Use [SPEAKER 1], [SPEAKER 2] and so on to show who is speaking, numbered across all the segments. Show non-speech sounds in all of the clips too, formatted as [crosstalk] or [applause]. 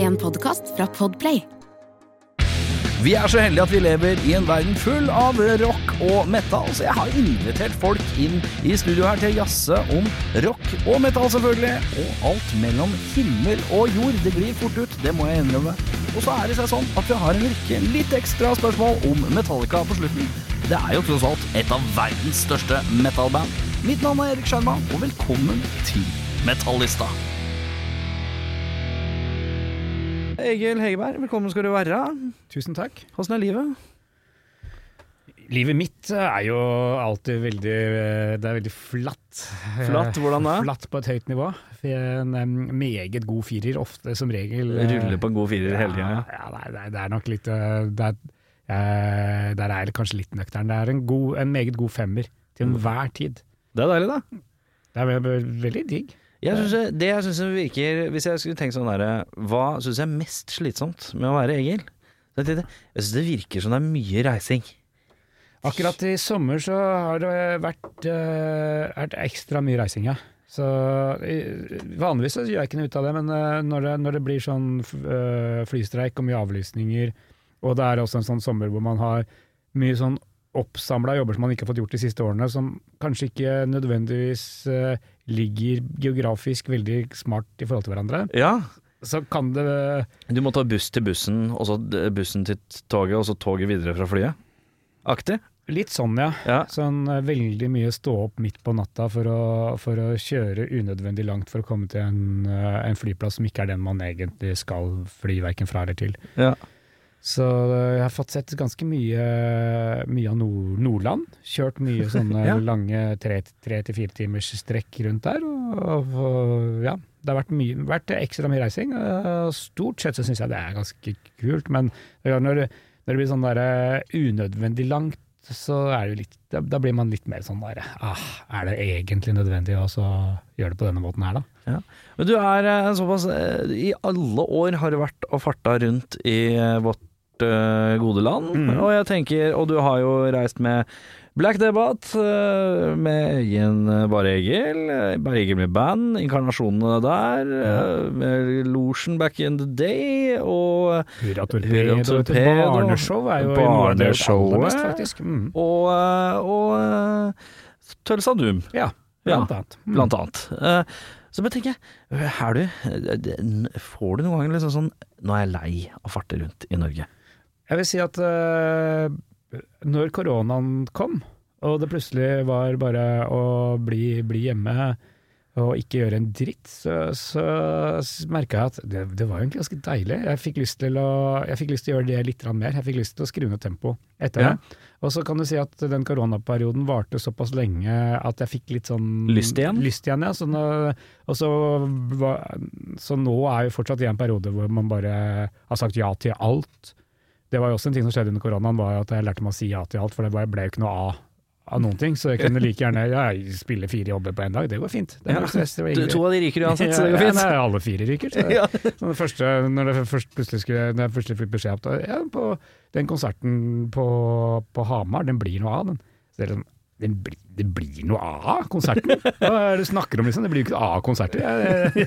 [SPEAKER 1] En podkast fra Podplay.
[SPEAKER 2] Vi er så heldige at vi lever i en verden full av rock og metal, så jeg har invitert folk inn i studio her til å jazze om rock og metal, selvfølgelig. Og alt mellom himmel og jord. Det glir fort ut, det må jeg innrømme. Og så er det seg sånn at vi har en rekke litt ekstra spørsmål om Metallica på slutten. Det er jo tross alt et av verdens største metalband. Mitt navn er Erik Skjerma, og velkommen til Metallista. Egil Hegerberg, velkommen skal du være.
[SPEAKER 3] Tusen takk.
[SPEAKER 2] Åssen er livet?
[SPEAKER 3] Livet mitt eh, er jo alltid veldig eh, Det er veldig flatt. Eh,
[SPEAKER 2] Flatt, hvordan da?
[SPEAKER 3] Flatt på et høyt nivå. For jeg er En eh, meget god firer, ofte som regel. eh,
[SPEAKER 2] Ruller på en god firer hele tida,
[SPEAKER 3] ja.
[SPEAKER 2] ja.
[SPEAKER 3] ja nei, nei, det er nok litt eh, det er, eh, Der er jeg kanskje litt nøktern. Det er en, god, en meget god femmer til
[SPEAKER 2] Mm.
[SPEAKER 3] enhver tid.
[SPEAKER 2] Det er deilig, da.
[SPEAKER 3] Det er ve- ve- veldig digg.
[SPEAKER 2] Jeg synes det, det jeg synes som virker Hvis jeg skulle tenkt sånn derre Hva syns jeg er mest slitsomt med å være Egil? Så Jeg tenkte, jeg synes det virker som det er mye reising.
[SPEAKER 3] Akkurat i sommer så har det vært, eh, vært ekstra mye reising, ja. Så eh, vanligvis så gjør jeg ikke noe ut av det, men eh, når det, når det blir sånn f- eh, flystreik og mye avlysninger, og det er også en sånn sommer hvor man har mye sånn oppsamla jobber som man ikke har fått gjort de siste årene, som kanskje ikke nødvendigvis eh, ligger geografisk veldig smart i forhold til hverandre,
[SPEAKER 2] Ja.
[SPEAKER 3] så kan det eh,
[SPEAKER 2] Du må ta buss til bussen, og så d- bussen til t- toget, og så toget videre fra flyet. Aktig.
[SPEAKER 3] Litt sånn, ja.
[SPEAKER 2] Ja.
[SPEAKER 3] Sånn eh, veldig mye stå opp midt på natta for å, for å kjøre unødvendig langt for å komme til en, eh, en flyplass som ikke er den man egentlig skal fly verken fra eller til.
[SPEAKER 2] Ja.
[SPEAKER 3] Så eh, jeg har fått sett ganske mye, mye av Nord Nordland. Kjørt mye sånne
[SPEAKER 2] Ja.
[SPEAKER 3] lange tre, tre til fire timers strekk rundt der. Og, og ja, det har vært, mye, vært ekstra mye reising. eh, Og stort sett så syns jeg det er ganske kult, men det er klart når, når det blir sånn der eh, unødvendig langt, så er det jo litt Da, da blir man litt mer sånn der ah, Er det egentlig nødvendig å så gjøre det på denne måten her, da?
[SPEAKER 2] Men du er eh, såpass eh, I alle år har du vært og farta rundt i eh, vårt eh, gode land.
[SPEAKER 3] Mhm.
[SPEAKER 2] Og jeg tenker Og du har jo reist med Black Debate, eh, med egen eh, Bare Egil, eh, Bare Egil med band, inkarnasjonene der, eh, med Losjen back in the day, og,
[SPEAKER 3] Hurra
[SPEAKER 2] Hurra
[SPEAKER 3] Torpedo. vet du.
[SPEAKER 2] Torpedo.
[SPEAKER 3] Barneshow er jo noe av det jeg har gjort aller mest,
[SPEAKER 2] Barneshowet.
[SPEAKER 3] faktisk. Mm.
[SPEAKER 2] og, eh, og eh, Tølsa Doom.
[SPEAKER 3] Ja,
[SPEAKER 2] Ja,
[SPEAKER 3] blant annet. Mm.
[SPEAKER 2] blant annet. Eh, Så bare tenker jeg, er du, den- får du noen ganger liksom sånn Nå er jeg lei av å farte rundt i Norge.
[SPEAKER 3] Jeg vil si at eh, når koronaen kom, og det plutselig var bare å bli, bli hjemme og ikke gjøre en dritt, så, så merka jeg at det, det var egentlig ganske deilig. Jeg fikk lyst til å, jeg fikk lyst til å gjøre det litt grann mer. Jeg fikk lyst til å skru ned tempoet etter
[SPEAKER 2] Ja.
[SPEAKER 3] det. Og så kan du si at den koronaperioden varte såpass lenge at jeg fikk litt sånn
[SPEAKER 2] Lyst igjen?
[SPEAKER 3] Lyst igjen, ja. Så nå, og så, var- så nå er jo fortsatt i en periode hvor man bare har sagt ja til alt. Det var jo også en ting som skjedde under koronaen, var jo at jeg lærte meg å si ja til alt, for det var- ble jo ikke noe av av noen ting, så jeg kunne like gjerne ja, jeg spiller fire jobber på en dag, det går fint. Det
[SPEAKER 2] Ja.
[SPEAKER 3] er ikke stress, det
[SPEAKER 2] Du,
[SPEAKER 3] var ingen-
[SPEAKER 2] to av de ryker uansett, så det
[SPEAKER 3] Ja,
[SPEAKER 2] går
[SPEAKER 3] ja,
[SPEAKER 2] fint.
[SPEAKER 3] nei, alle fire
[SPEAKER 2] [laughs]
[SPEAKER 3] ryker. Så, så det første, når jeg først plutselig skulle, når jeg plutselig fikk beskjed om at ja, på den konserten på, på Hamar, den blir noe av, den. Så det er sånn, den blir, det blir noe av konserten? Hva er det du snakker om, liksom? Det blir jo ikke noe av konserter. Jeg,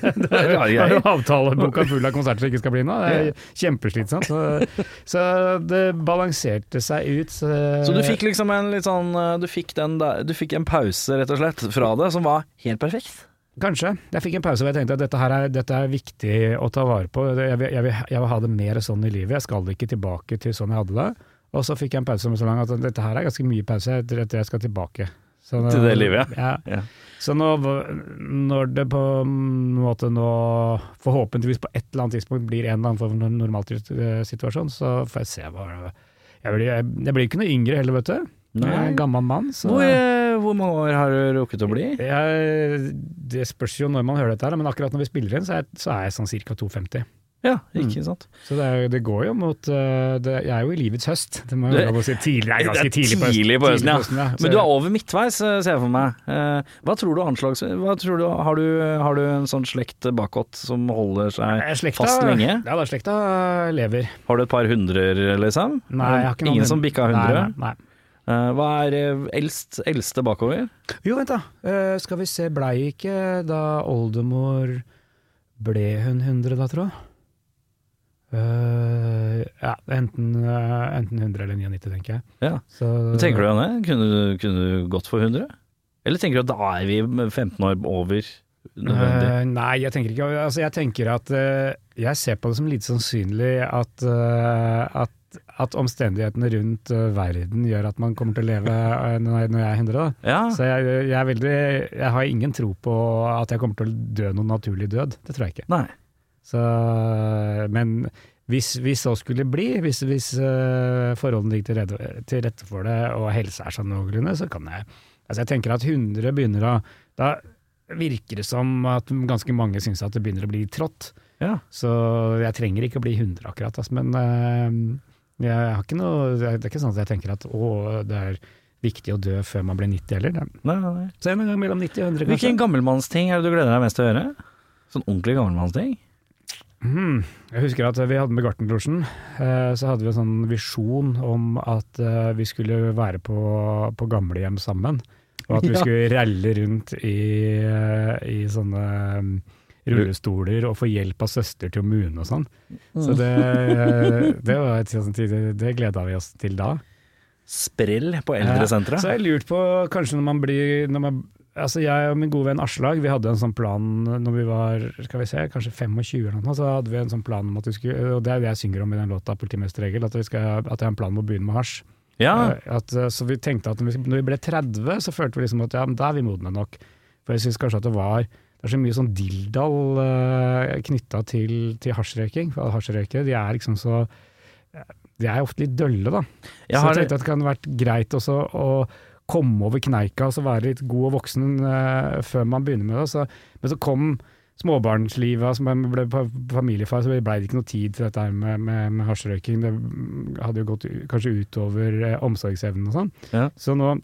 [SPEAKER 2] [laughs]
[SPEAKER 3] jeg, jeg,
[SPEAKER 2] er rare
[SPEAKER 3] jeg har jo
[SPEAKER 2] greier.
[SPEAKER 3] avtaleboka full av konserter som ikke skal bli noe. Det er kjempeslitsomt. Så, så det balanserte seg ut. Så,
[SPEAKER 2] Så du fikk liksom en litt sånn eh, Du fikk, den der, du fikk en pause, rett og slett, fra det, som var helt perfekt.
[SPEAKER 3] Kanskje. Jeg fikk en pause hvor jeg tenkte at dette, her er, dette er viktig å ta vare på. Jeg vil, jeg, vil, jeg vil ha det mer sånn i livet. Jeg skal ikke tilbake til sånn jeg hadde det. Og så fikk jeg en pause som var så lang at dette her er ganske mye pause. Jeg tror at jeg skal tilbake. Så nå-
[SPEAKER 2] Til det livet,
[SPEAKER 3] ja.
[SPEAKER 2] Ja.
[SPEAKER 3] Så nå, når det på en måte nå forhåpentligvis på et eller annet tidspunkt blir en eller annen form for normalsituasjon, eh, så får jeg se hva Jeg blir, jeg, jeg blir ikke noe yngre heller, vet du. Jeg er
[SPEAKER 2] Nei.
[SPEAKER 3] en gammel mann. Så
[SPEAKER 2] Hvor, eh, hvor mange år har du rukket å bli?
[SPEAKER 3] jeg, det spørs jo når man hører dette, her, men akkurat når vi spiller inn, så er, jeg- så er jeg sånn ca. 2,50.
[SPEAKER 2] Ja,
[SPEAKER 3] Mm.
[SPEAKER 2] ikke sant.
[SPEAKER 3] Så det, er, jo- det går jo mot øh, det, Jeg er jo i livets høst. Det må
[SPEAKER 2] Du-
[SPEAKER 3] jeg jo lov å si. Tidlig, det er ganske tidlig på høsten.
[SPEAKER 2] Tidlig på høsten, ja.
[SPEAKER 3] Så
[SPEAKER 2] Men du er over midtveis, eh, ser jeg for meg. Eh, Hva tror du anslags... Hva tror du, har, du, har du en sånn slekt bakåt som holder
[SPEAKER 3] jeg-
[SPEAKER 2] seg
[SPEAKER 3] slekta,
[SPEAKER 2] fast lenge?
[SPEAKER 3] Ja da, slekta eh, lever.
[SPEAKER 2] Har du et par hundrer, liksom?
[SPEAKER 3] Nei, jeg har ikke noen-
[SPEAKER 2] Ingen som bikka 100?
[SPEAKER 3] Nei, nei, nei.
[SPEAKER 2] Eh, hva er eh, eldst, eldste bakover?
[SPEAKER 3] Jo, vent da. Eh, skal vi se, blei ikke da oldemor Ble hun 100 da, tro? Uh, ja, enten, eh, enten 100 eller 99, tenker jeg.
[SPEAKER 2] Ja.
[SPEAKER 3] Så,
[SPEAKER 2] Men Tenker du om det? Kunne, du- kunne du gått for 100? Eller tenker du at da er vi 15 år over nødvendig?
[SPEAKER 3] Eh, nei, jeg tenker ikke altså, Jeg tenker at eh, jeg ser på det som lite sannsynlig at, eh, at, at omstendighetene rundt eh, verden gjør at man kommer til å leve eh, når jeg når jeg er 100. Da.
[SPEAKER 2] Ja,
[SPEAKER 3] Så jeg, jeg, er veldig, jeg har ingen tro på at jeg kommer til å dø noen naturlig død. Det tror jeg ikke.
[SPEAKER 2] nei.
[SPEAKER 3] Så, men hvis, hvis så skulle bli, hvis, hvis eh, forholdene ligger til, rede, til rette for det, og helse er sånn noenlunde, så kan jeg Altså jeg tenker at 100 begynner å Da virker det som at ganske mange syns at det begynner å bli trått.
[SPEAKER 2] Ja.
[SPEAKER 3] Så jeg trenger ikke å bli 100 akkurat, altså, men eh, jeg har ikke noe, det er ikke sånn at jeg tenker at å, det er viktig å dø før man blir 90 heller. Det-
[SPEAKER 2] Nei, nei, nei.
[SPEAKER 3] Så en gang mellom 90 og 100, kanskje.
[SPEAKER 2] Hvilken gammelmannsting er det du gleder deg mest til å gjøre? Sånn ordentlig gammelmannsting?
[SPEAKER 3] Hmm. Jeg husker at vi hadde med Gartnerlosjen, eh, så hadde vi en sånn visjon om at eh, vi skulle være på, på gamlehjem sammen. Og at vi
[SPEAKER 2] Ja.
[SPEAKER 3] skulle ralle rundt i, eh, i sånne mm, rullestoler og få hjelp av søster til å mune og sånn. Så det, eh, det var et sånt tid, det gleda vi oss til da.
[SPEAKER 2] Sprell på
[SPEAKER 3] Ja.
[SPEAKER 2] eldresenteret?
[SPEAKER 3] Så jeg lurte på, kanskje når man blir når man, Altså Jeg og min gode venn Aslag vi hadde en sånn plan når vi var skal vi se, kanskje 25, eller noe, så hadde vi en sånn plan om at vi skulle Og det er det jeg synger om i den låta, 'Politimesteregel', at, vi skal- at jeg har en plan om å begynne med hasj.
[SPEAKER 2] Ja.
[SPEAKER 3] Eh, At, eh, så vi tenkte at når vi, når vi ble 30, så følte vi liksom at ja, men da er vi modne nok. For jeg syns kanskje at det var det er så mye sånn dilldall uh, knytta til, til hasjrøyking. For hasjrøykere de er liksom så eh, De er ofte litt dølle, da.
[SPEAKER 2] Jeg
[SPEAKER 3] så
[SPEAKER 2] har,
[SPEAKER 3] jeg tenkte at det kan vært greit også å komme over kneika og så være litt god og voksen eh, før man begynner med det. Så, men så kom småbarnslivet, som jeg ble pa- familiefar, så ble det ikke noe tid til dette her med, med, med hasjrøyking. Det mm, hadde jo gått u- kanskje utover eh, omsorgsevnen og sånn.
[SPEAKER 2] Ja.
[SPEAKER 3] Så nå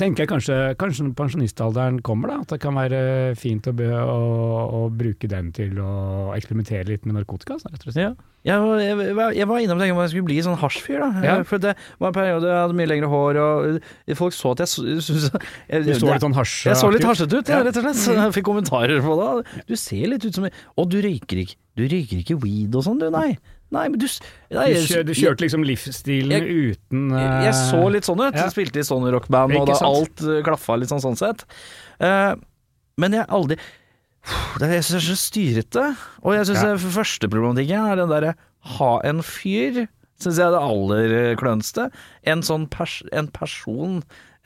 [SPEAKER 3] tenker jeg kanskje, kanskje når pensjonistalderen kommer, da, at det kan være eh, fint å, be, å, å bruke den til å eksperimentere litt med narkotika. Så, rett og slett.
[SPEAKER 2] ja. Jeg, var, jeg, var- jeg var innom det om jeg skulle bli sånn hasjfyr, da.
[SPEAKER 3] Ja.
[SPEAKER 2] For det var en periode jeg hadde mye lengre hår, og folk så at jeg syntes
[SPEAKER 3] Du så litt sånn hasj...
[SPEAKER 2] Jeg så litt hasjet ut, ja,
[SPEAKER 3] Ja.
[SPEAKER 2] rett og slett. Så jeg fikk kommentarer på det. Du ser litt ut som Og du røyker ikke Du røyker ikke weed og sånn, du, nei. Nei, men du s- nei,
[SPEAKER 3] Du,
[SPEAKER 2] jeg-
[SPEAKER 3] kjør, du kjørte liksom livsstilen
[SPEAKER 2] Jeg-
[SPEAKER 3] uten
[SPEAKER 2] Jeg,
[SPEAKER 3] eh,
[SPEAKER 2] jeg så litt sånn ut.
[SPEAKER 3] ja.
[SPEAKER 2] Spilte i sånn rockband, og
[SPEAKER 3] Ikke
[SPEAKER 2] da
[SPEAKER 3] sant?
[SPEAKER 2] alt eh, klaffa litt sånn sånn sett. Eh, men jeg aldri det, er- Jeg syns det er så styrete. Og jeg syns
[SPEAKER 3] Ja.
[SPEAKER 2] det første problematikken er den derre ha en fyr. Syns jeg er det aller eh, kløneste. En sånn pers en person,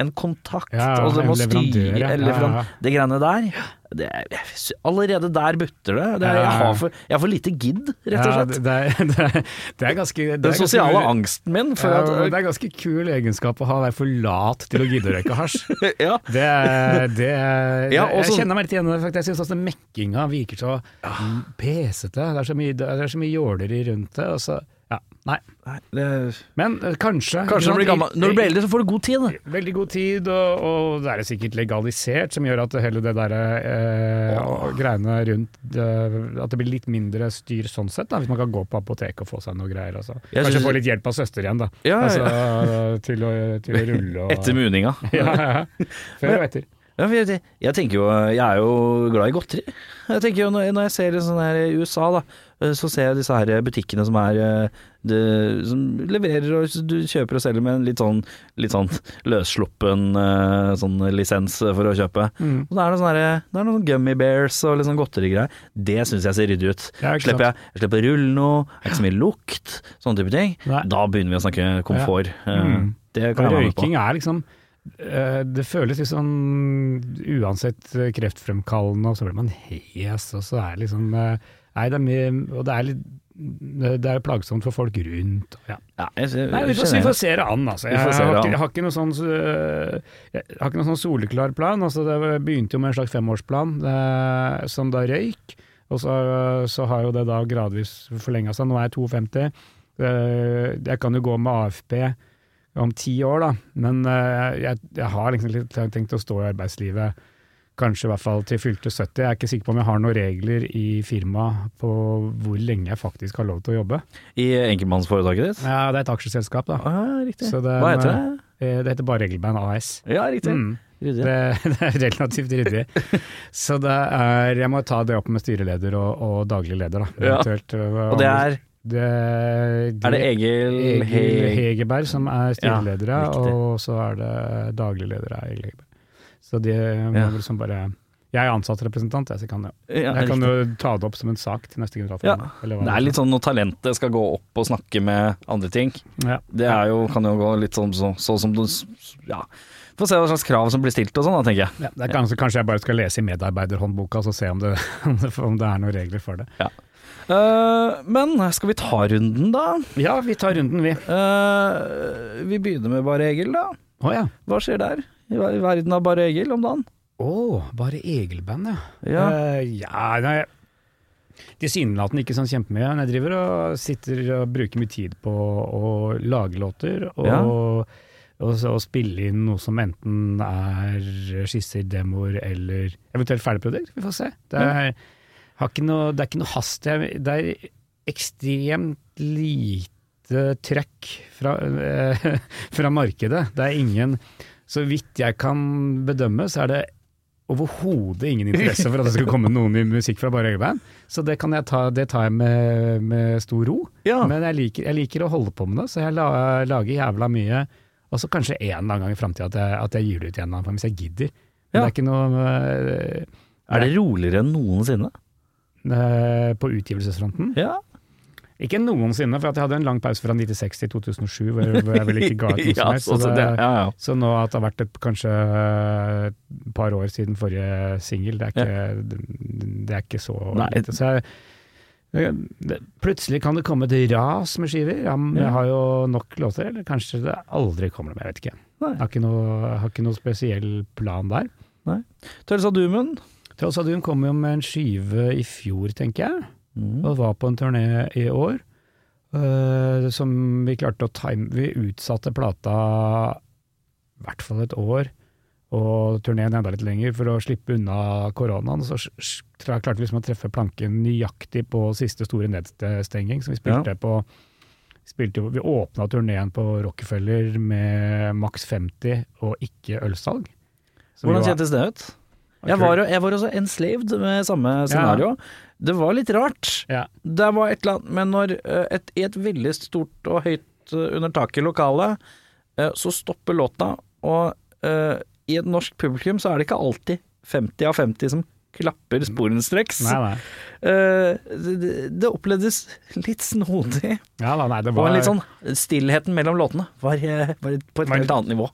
[SPEAKER 2] en kontakt,
[SPEAKER 3] Ja,
[SPEAKER 2] og det
[SPEAKER 3] en
[SPEAKER 2] må
[SPEAKER 3] leverandør,
[SPEAKER 2] styre
[SPEAKER 3] ja.
[SPEAKER 2] eller
[SPEAKER 3] Ja, ja.
[SPEAKER 2] Det greiene der. Det er, jeg, sy- allerede der butter det. det er,
[SPEAKER 3] Ja,
[SPEAKER 2] jeg,
[SPEAKER 3] ja.
[SPEAKER 2] har for, jeg har for lite gidd, rett og
[SPEAKER 3] Ja,
[SPEAKER 2] slett.
[SPEAKER 3] det, er- [laughs] det, er- det er ganske det er
[SPEAKER 2] Den
[SPEAKER 3] ganske
[SPEAKER 2] sosiale
[SPEAKER 3] kul-
[SPEAKER 2] angsten min for
[SPEAKER 3] ja, men
[SPEAKER 2] at
[SPEAKER 3] Det er ganske kul egenskap å ha, være for lat til å gidde å røyke hasj.
[SPEAKER 2] [laughs] ja,
[SPEAKER 3] Det, er- det, er-
[SPEAKER 2] Ja, og
[SPEAKER 3] jeg
[SPEAKER 2] så-
[SPEAKER 3] kjenner meg litt igjen i det. faktisk. Jeg syns også mekkinga virker så
[SPEAKER 2] Ah.
[SPEAKER 3] pesete. Det er så mye, det er så mye jåleri rundt det. Og så, ja, nei.
[SPEAKER 2] Nei, det
[SPEAKER 3] Men eh, kanskje
[SPEAKER 2] Kanskje når du blir gammel. Når du blir eldre, så får du god tid.
[SPEAKER 3] Veldig god tid, og, og det er det sikkert legalisert, som gjør at hele det der eh, og greiene rundt eh, At det blir litt mindre styr sånn sett, da, hvis man kan gå på apoteket og få seg noe greier. Altså.
[SPEAKER 2] Jeg
[SPEAKER 3] Kanskje
[SPEAKER 2] synes-
[SPEAKER 3] få litt hjelp av søster igjen, da.
[SPEAKER 2] Ja, ja, ja.
[SPEAKER 3] Altså, til, å, til å rulle og
[SPEAKER 2] [laughs]
[SPEAKER 3] [laughs]
[SPEAKER 2] Etter muninga.
[SPEAKER 3] Ja,
[SPEAKER 2] [laughs]
[SPEAKER 3] ja. Før og etter.
[SPEAKER 2] Ja, for jeg, jeg tenker jo Jeg er jo glad i godteri. Jeg tenker jo Når, når jeg ser sånn her i USA, da, eh, så ser jeg disse her butikkene som er eh, det, Som leverer og du kjøper og selger med en litt sånn, litt sånn løssluppen eh, sånn lisens for å kjøpe.
[SPEAKER 3] Mm.
[SPEAKER 2] Og da er det, sånn her, det er noen gummy bears og litt sånn godterigreier. Det syns jeg ser ryddig ut.
[SPEAKER 3] Ja, ikke sant.
[SPEAKER 2] slipper jeg, jeg slipper å rulle noe, det er ikke så mye lukt, sånne type ting.
[SPEAKER 3] Nei.
[SPEAKER 2] Da begynner vi å snakke komfort. Eh,
[SPEAKER 3] Mm.
[SPEAKER 2] Det kan jeg være med på.
[SPEAKER 3] Røyking er liksom eh, det føles litt sånn uansett eh, kreftfremkallende, og så blir man hes, og så er det liksom eh, Nei, det er mye Og det er litt Det er plagsomt for folk rundt. og Ja.
[SPEAKER 2] Ja, jeg, jeg,
[SPEAKER 3] Nei, vi får,
[SPEAKER 2] skjønner.
[SPEAKER 3] vi får se det an, altså.
[SPEAKER 2] Vi
[SPEAKER 3] Jeg,
[SPEAKER 2] får se det
[SPEAKER 3] har, ikke,
[SPEAKER 2] an.
[SPEAKER 3] jeg, har ikke noe sånn, så, øh, jeg har ikke noe sånn soleklar plan. Altså, det begynte jo med en slags femårsplan, eh, som da røyk. Og så, øh, så har jo det da gradvis forlenga seg. Nå er jeg 52. Eh, jeg kan jo gå med AFP om ti år, da. Men eh, jeg, jeg har liksom litt tenkt å stå i arbeidslivet. Kanskje i hvert fall til fylte 70. Jeg er ikke sikker på om jeg har noen regler i firmaet på hvor lenge jeg faktisk har lov til å jobbe.
[SPEAKER 2] I enkeltmannsforetaket ditt?
[SPEAKER 3] Ja, Det er et aksjeselskap, da.
[SPEAKER 2] Ah, riktig.
[SPEAKER 3] Så det er
[SPEAKER 2] Hva
[SPEAKER 3] en,
[SPEAKER 2] heter det?
[SPEAKER 3] Eh, Det heter bare Regelband AS.
[SPEAKER 2] Ja, riktig.
[SPEAKER 3] Mm.
[SPEAKER 2] Ryddig.
[SPEAKER 3] Det, det er [laughs] relativt ryddig. Så det er Jeg må ta det opp med styreleder og, og daglig leder, da.
[SPEAKER 2] Ja.
[SPEAKER 3] Eventuelt, hva-
[SPEAKER 2] Og det er
[SPEAKER 3] det,
[SPEAKER 2] Er det Egil,
[SPEAKER 3] Egil
[SPEAKER 2] Heg-
[SPEAKER 3] Hegerberg som er styreleder, ja,
[SPEAKER 2] Ja, riktig.
[SPEAKER 3] og så er det daglig leder er Egil Hegerberg. Så det må
[SPEAKER 2] Ja.
[SPEAKER 3] vel liksom bare Jeg er ansatt representant, jeg, så jeg kan, jo-
[SPEAKER 2] Ja,
[SPEAKER 3] jeg kan
[SPEAKER 2] riktig.
[SPEAKER 3] jo ta det opp som en sak til neste generalforsamling. eller hva
[SPEAKER 2] Det er litt sånn når talentet skal gå opp og snakke med andre ting.
[SPEAKER 3] ja.
[SPEAKER 2] Det er jo, kan jo gå litt sånn så, så som du s- Ja. Få se hva slags krav som blir stilt og sånn, da, tenker jeg.
[SPEAKER 3] Ja, det er kanskje, kanskje jeg bare skal lese i medarbeiderhåndboka og se om det, [laughs] om det- om det er noen regler for det.
[SPEAKER 2] Eh, men skal vi ta runden, da?
[SPEAKER 3] Ja, vi tar runden, vi.
[SPEAKER 2] Eh, vi begynner med Bare Egil, da.
[SPEAKER 3] Å ja.
[SPEAKER 2] Hva skjer der? I ver- verden av Bare Egil om dagen?
[SPEAKER 3] Å, bare Egil-band, ja.
[SPEAKER 2] Ja.
[SPEAKER 3] Eh, ja, nei Tilsynelatende ikke sånn kjempemye. Men jeg driver og sitter og bruker mye tid på å lage låter, og,
[SPEAKER 2] Ja.
[SPEAKER 3] og, så- og spille inn noe som enten er skisser, demoer eller eventuelt ferdigprodukt. Vi får se. Det er, har ikke noe, det er ikke noe hast. Det er, det er ekstremt lite trøkk fra, eh, [laughs] fra markedet. Det er ingen Så vidt jeg kan bedømme, så er det overhodet ingen interesse for at det skal komme noe ny musikk fra bare øyeband. Så det, kan jeg ta, det tar jeg med, med stor ro.
[SPEAKER 2] Ja.
[SPEAKER 3] Men jeg liker, jeg liker å holde på med det, så jeg la, lager jævla mye. Og så kanskje en eller annen gang i framtida at, jeg- at jeg gir det ut igjen, eller annen gang, hvis jeg gidder. Men
[SPEAKER 2] Ja.
[SPEAKER 3] det er ikke noe eh,
[SPEAKER 2] Er det roligere enn noensinne?
[SPEAKER 3] eh, på utgivelsesfronten.
[SPEAKER 2] Ja.
[SPEAKER 3] Ikke noensinne, for at jeg hadde en lang pause fra 96 til 2007, hvor jeg hvor jeg vel ikke ga
[SPEAKER 2] [laughs]
[SPEAKER 3] ut noe som helst.
[SPEAKER 2] så,
[SPEAKER 3] Så,
[SPEAKER 2] det,
[SPEAKER 3] det,
[SPEAKER 2] ja, ja.
[SPEAKER 3] så nå at det har vært et, kanskje eh, et par år siden forrige singel, det, er ikke- det- det er ikke så
[SPEAKER 2] Nei.
[SPEAKER 3] lite. Så jeg, det, plutselig kan det komme et ras med skiver. Ja, men
[SPEAKER 2] Ja.
[SPEAKER 3] Jeg har jo nok låter, eller kanskje det aldri kommer noe mer, jeg vet ikke.
[SPEAKER 2] Nei.
[SPEAKER 3] Jeg har ikke noe, jeg har ikke noe spesiell plan der.
[SPEAKER 2] Tørsa Dumen.
[SPEAKER 3] Tross at hun kom jo med en skive i fjor, tenker jeg. og var på en turné i år. eh, som vi klarte å time Vi utsatte plata i hvert fall et år, og turneen enda litt lenger, for å slippe unna koronaen. Så s- s- tra- klarte vi liksom å treffe planken nøyaktig på siste store nedstenging, så vi spilte på spilte, jo- Vi åpna turneen på Rockefeller med maks 50 og ikke ølsalg. Så vi
[SPEAKER 2] Hvordan
[SPEAKER 3] var-
[SPEAKER 2] kjentes det ut? Jeg var, jo- jeg var også enslaved med samme scenario. Det var litt rart.
[SPEAKER 3] Ja.
[SPEAKER 2] Det var et eller annet, men når eh, et, i et veldig stort og høyt eh, under taket lokale, eh, så stopper låta, og eh, i et norsk publikum så er det ikke alltid 50 av 50 som klapper sporenstreks.
[SPEAKER 3] Nei, nei.
[SPEAKER 2] Eh, det- det, det opplevdes litt snodig,
[SPEAKER 3] Ja, da, nei, det
[SPEAKER 2] og
[SPEAKER 3] var
[SPEAKER 2] en litt sånn stillheten mellom låtene var, eh, var på et
[SPEAKER 3] Var-
[SPEAKER 2] helt annet nivå.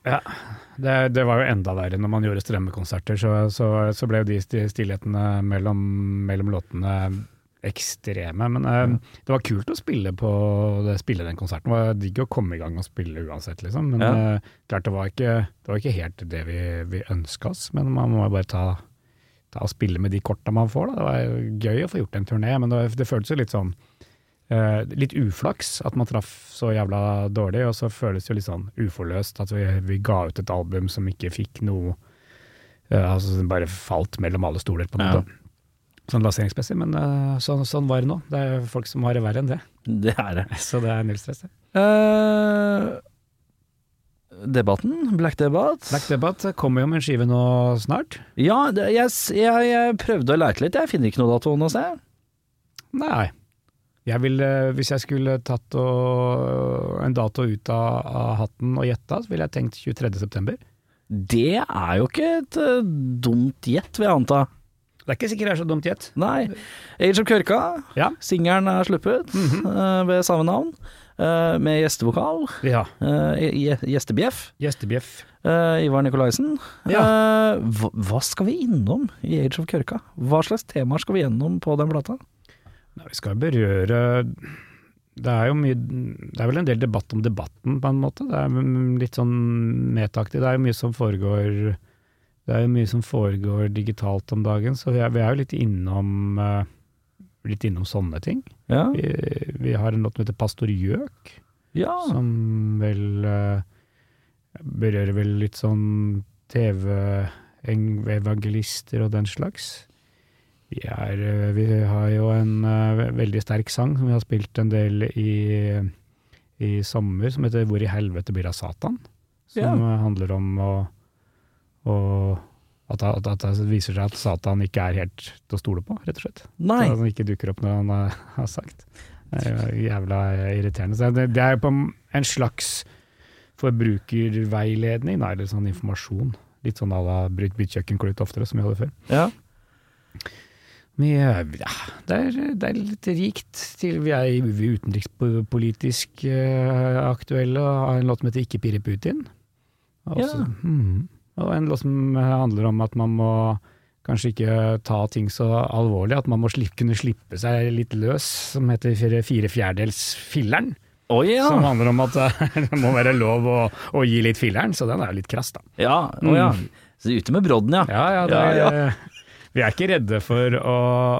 [SPEAKER 3] Det, det var jo enda verre når man gjorde strømmekonserter, så, så, så ble jo de sti- stillhetene mellom, mellom låtene ekstreme. Men eh, det var kult å spille, på, det, spille den konserten. Det var digg å komme i gang og spille uansett, liksom. Men
[SPEAKER 2] Ja.
[SPEAKER 3] eh, klart det var, ikke, det var ikke helt det vi, vi ønska oss. Men man må jo bare ta, ta og spille med de korta man får. Da. Det var jo gøy å få gjort en turné, men det, det føltes jo litt sånn Eh, litt uflaks at man traff så jævla dårlig, og så føles det jo litt sånn uforløst at vi, vi ga ut et album som ikke fikk noe eh, Altså som bare falt mellom alle stoler, på en
[SPEAKER 2] Ja.
[SPEAKER 3] måte. Sånn lanseringsmessig, men eh, sånn, sånn var det nå. Det er folk som har det verre enn det, [laughs]
[SPEAKER 2] Det er det.
[SPEAKER 3] så det er null stress. det.
[SPEAKER 2] Eh, debatten, Black Debatt.
[SPEAKER 3] Black Debbat kommer jo med en skive nå snart.
[SPEAKER 2] Ja, det, jeg, s- jeg, jeg prøvde å leite litt, jeg finner ikke noe dato nå, ser jeg.
[SPEAKER 3] Nei. Jeg ville, hvis jeg skulle tatt og, en dato ut av, av hatten og gjetta, så ville jeg tenkt 23.9.
[SPEAKER 2] Det er jo ikke et eh, dumt gjett, vil jeg anta.
[SPEAKER 3] Det er ikke sikkert det er så dumt gjett.
[SPEAKER 2] Nei. Age of Kørka,
[SPEAKER 3] Ja.
[SPEAKER 2] singelen er sluppet eh, ved samme navn, eh, med gjestevokal,
[SPEAKER 3] Ja.
[SPEAKER 2] eh, gje- gjestebjeff,
[SPEAKER 3] Gjestebjeff.
[SPEAKER 2] eh, Ivar Nikolaisen. Eh, hva, hva skal vi innom i Age of Kørka? Hva slags temaer skal vi gjennom på den plata?
[SPEAKER 3] Nei, vi skal berøre det er, jo mye, det er vel en del debatt om debatten, på en måte. Det er mm, litt sånn metaktig. Det er jo mye som foregår det er jo mye som foregår digitalt om dagen, så vi er, vi er jo litt innom, eh, litt innom sånne ting.
[SPEAKER 2] Ja.
[SPEAKER 3] Vi, vi har en låt som heter 'Pastor Gjøk',
[SPEAKER 2] ja.
[SPEAKER 3] som vel eh, berører vel litt sånn TV-evangelister og den slags. Vi, er, eh, vi har jo en eh, veldig sterk sang som vi har spilt en del i, i sommer, som heter 'Hvor i helvete blir det av Satan?', som
[SPEAKER 2] Ja.
[SPEAKER 3] eh, handler om å, Og at, at, at det viser seg at Satan ikke er helt til å stole på, rett og slett.
[SPEAKER 2] Nei.
[SPEAKER 3] At han ikke dukker opp når han eh, har sagt. Det er jo jævla eh, irriterende. Så det, det er jo på en slags forbrukerveiledning, da, eller sånn informasjon. Litt sånn à la bruk bytt kjøkkenklut oftere, som vi hadde før.
[SPEAKER 2] Ja.
[SPEAKER 3] Vi, eh, ja, det, er, det er litt rikt til vi er vi er utenrikspolitisk eh, aktuelle og har en låt som heter Ikke pirre Putin. Og
[SPEAKER 2] Ja.
[SPEAKER 3] også- mhm. Og en låt som handler om at man må kanskje ikke ta ting så alvorlig, at man må slipp, kunne slippe seg litt løs, som heter Fire, fire fjerdedels filleren.
[SPEAKER 2] Å ja.
[SPEAKER 3] Som handler om at [laughs] eh, det må være lov å, å gi litt filleren, så den er jo litt krass, da.
[SPEAKER 2] ja. Å ja. Så ute med brodden, ja.
[SPEAKER 3] Ja, ja, det,
[SPEAKER 2] Ja,
[SPEAKER 3] Vi er ikke redde for å,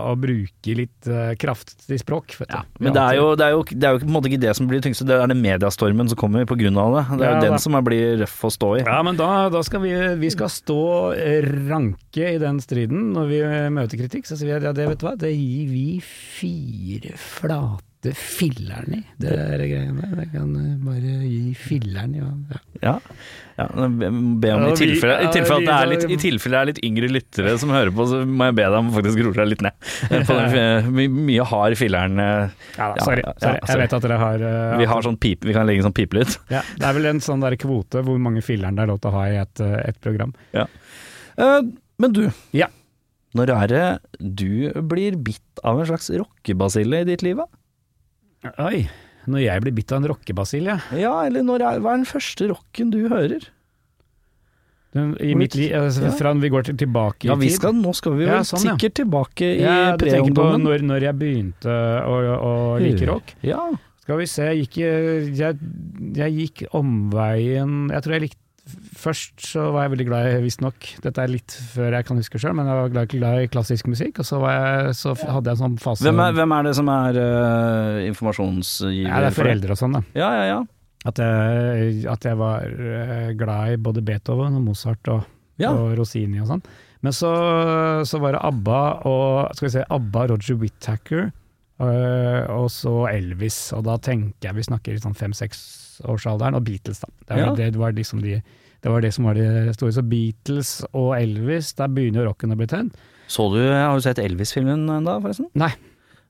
[SPEAKER 3] å bruke litt eh, kraftig språk. Vet du.
[SPEAKER 2] Men det er, jo, det, er jo, det er jo på en måte ikke det som blir det tyngste, det er den mediestormen som kommer på grunn av det. Det er
[SPEAKER 3] Ja,
[SPEAKER 2] jo
[SPEAKER 3] da.
[SPEAKER 2] den som er- blir røff å stå i.
[SPEAKER 3] Ja, men da, da skal vi, vi skal stå eh, ranke i den striden. Når vi eh, møter kritikk, så sier vi at ja, det vet du hva, det gir vi fire flate filleren i. Det er greiene. Det kan eh, bare gi filleren i. Ja.
[SPEAKER 2] Ja. ja be be om
[SPEAKER 3] Ja,
[SPEAKER 2] I
[SPEAKER 3] vi-
[SPEAKER 2] tilfelle, i
[SPEAKER 3] ja,
[SPEAKER 2] tilfelle at det er
[SPEAKER 3] vi-
[SPEAKER 2] litt, i tilfelle det er litt yngre lyttere som hører på, så må jeg be deg om å faktisk roe deg litt
[SPEAKER 3] [laughs]
[SPEAKER 2] ned. På den eh, my mye hard filleren. eh,
[SPEAKER 3] Ja, da,
[SPEAKER 2] Ja, ja,
[SPEAKER 3] sorry, sorry.
[SPEAKER 2] ja, sorry.
[SPEAKER 3] Jeg vet at dere har, eh,
[SPEAKER 2] Vi, har sånn pipe, vi kan legge sånn pipelyd.
[SPEAKER 3] ja, Det er vel en sånn der kvote hvor mange filleren det er lov til å ha i et, eh, et program.
[SPEAKER 2] Eh, Men du,
[SPEAKER 3] Ja.
[SPEAKER 2] når er det du blir bitt av en slags rockebasille i ditt liv? da?
[SPEAKER 3] Oi, når jeg blir bitt av en rockebasilje
[SPEAKER 2] Ja, eller når er, hva er den første rocken du hører?
[SPEAKER 3] Den, I mitt liv, altså,
[SPEAKER 2] Ja.
[SPEAKER 3] fra vi går til, tilbake
[SPEAKER 2] Ja,
[SPEAKER 3] i
[SPEAKER 2] vi
[SPEAKER 3] tid.
[SPEAKER 2] skal, nå skal vi vel
[SPEAKER 3] Ja, sånn, ja.
[SPEAKER 2] sikkert tilbake i
[SPEAKER 3] Ja, du tenker på
[SPEAKER 2] preungdommen.
[SPEAKER 3] når, når jeg begynte å, å like rock.
[SPEAKER 2] Ja.
[SPEAKER 3] Skal vi se, jeg gikk, eh, jeg, jeg gikk omveien Jeg tror jeg likte Først så var jeg veldig glad i, visstnok Dette er litt før jeg kan huske sjøl, men jeg var glad, glad i klassisk musikk. Og så, var jeg, så f- hadde jeg en sånn fase
[SPEAKER 2] Hvem er, hvem er det som er eh, informasjonsgiver?
[SPEAKER 3] ja, Det er
[SPEAKER 2] for deg?
[SPEAKER 3] foreldre og sånn, da.
[SPEAKER 2] Ja, ja, ja.
[SPEAKER 3] At jeg, at jeg var eh, glad i både Beethoven og Mozart og,
[SPEAKER 2] Ja.
[SPEAKER 3] og Rossini og sånn. Men så, så var det ABBA og skal vi se, ABBA, Roger Whittaker eh, og så Elvis. Og da tenker jeg vi snakker i sånn fem-seksårsalderen, og Beatles, da. Det var,
[SPEAKER 2] Ja.
[SPEAKER 3] det, var liksom de, det var det som var det store. Så Beatles og Elvis, der begynner jo rocken å bli tent.
[SPEAKER 2] Så du, eh, har du sett Elvis-filmen eh, da, forresten?
[SPEAKER 3] Nei.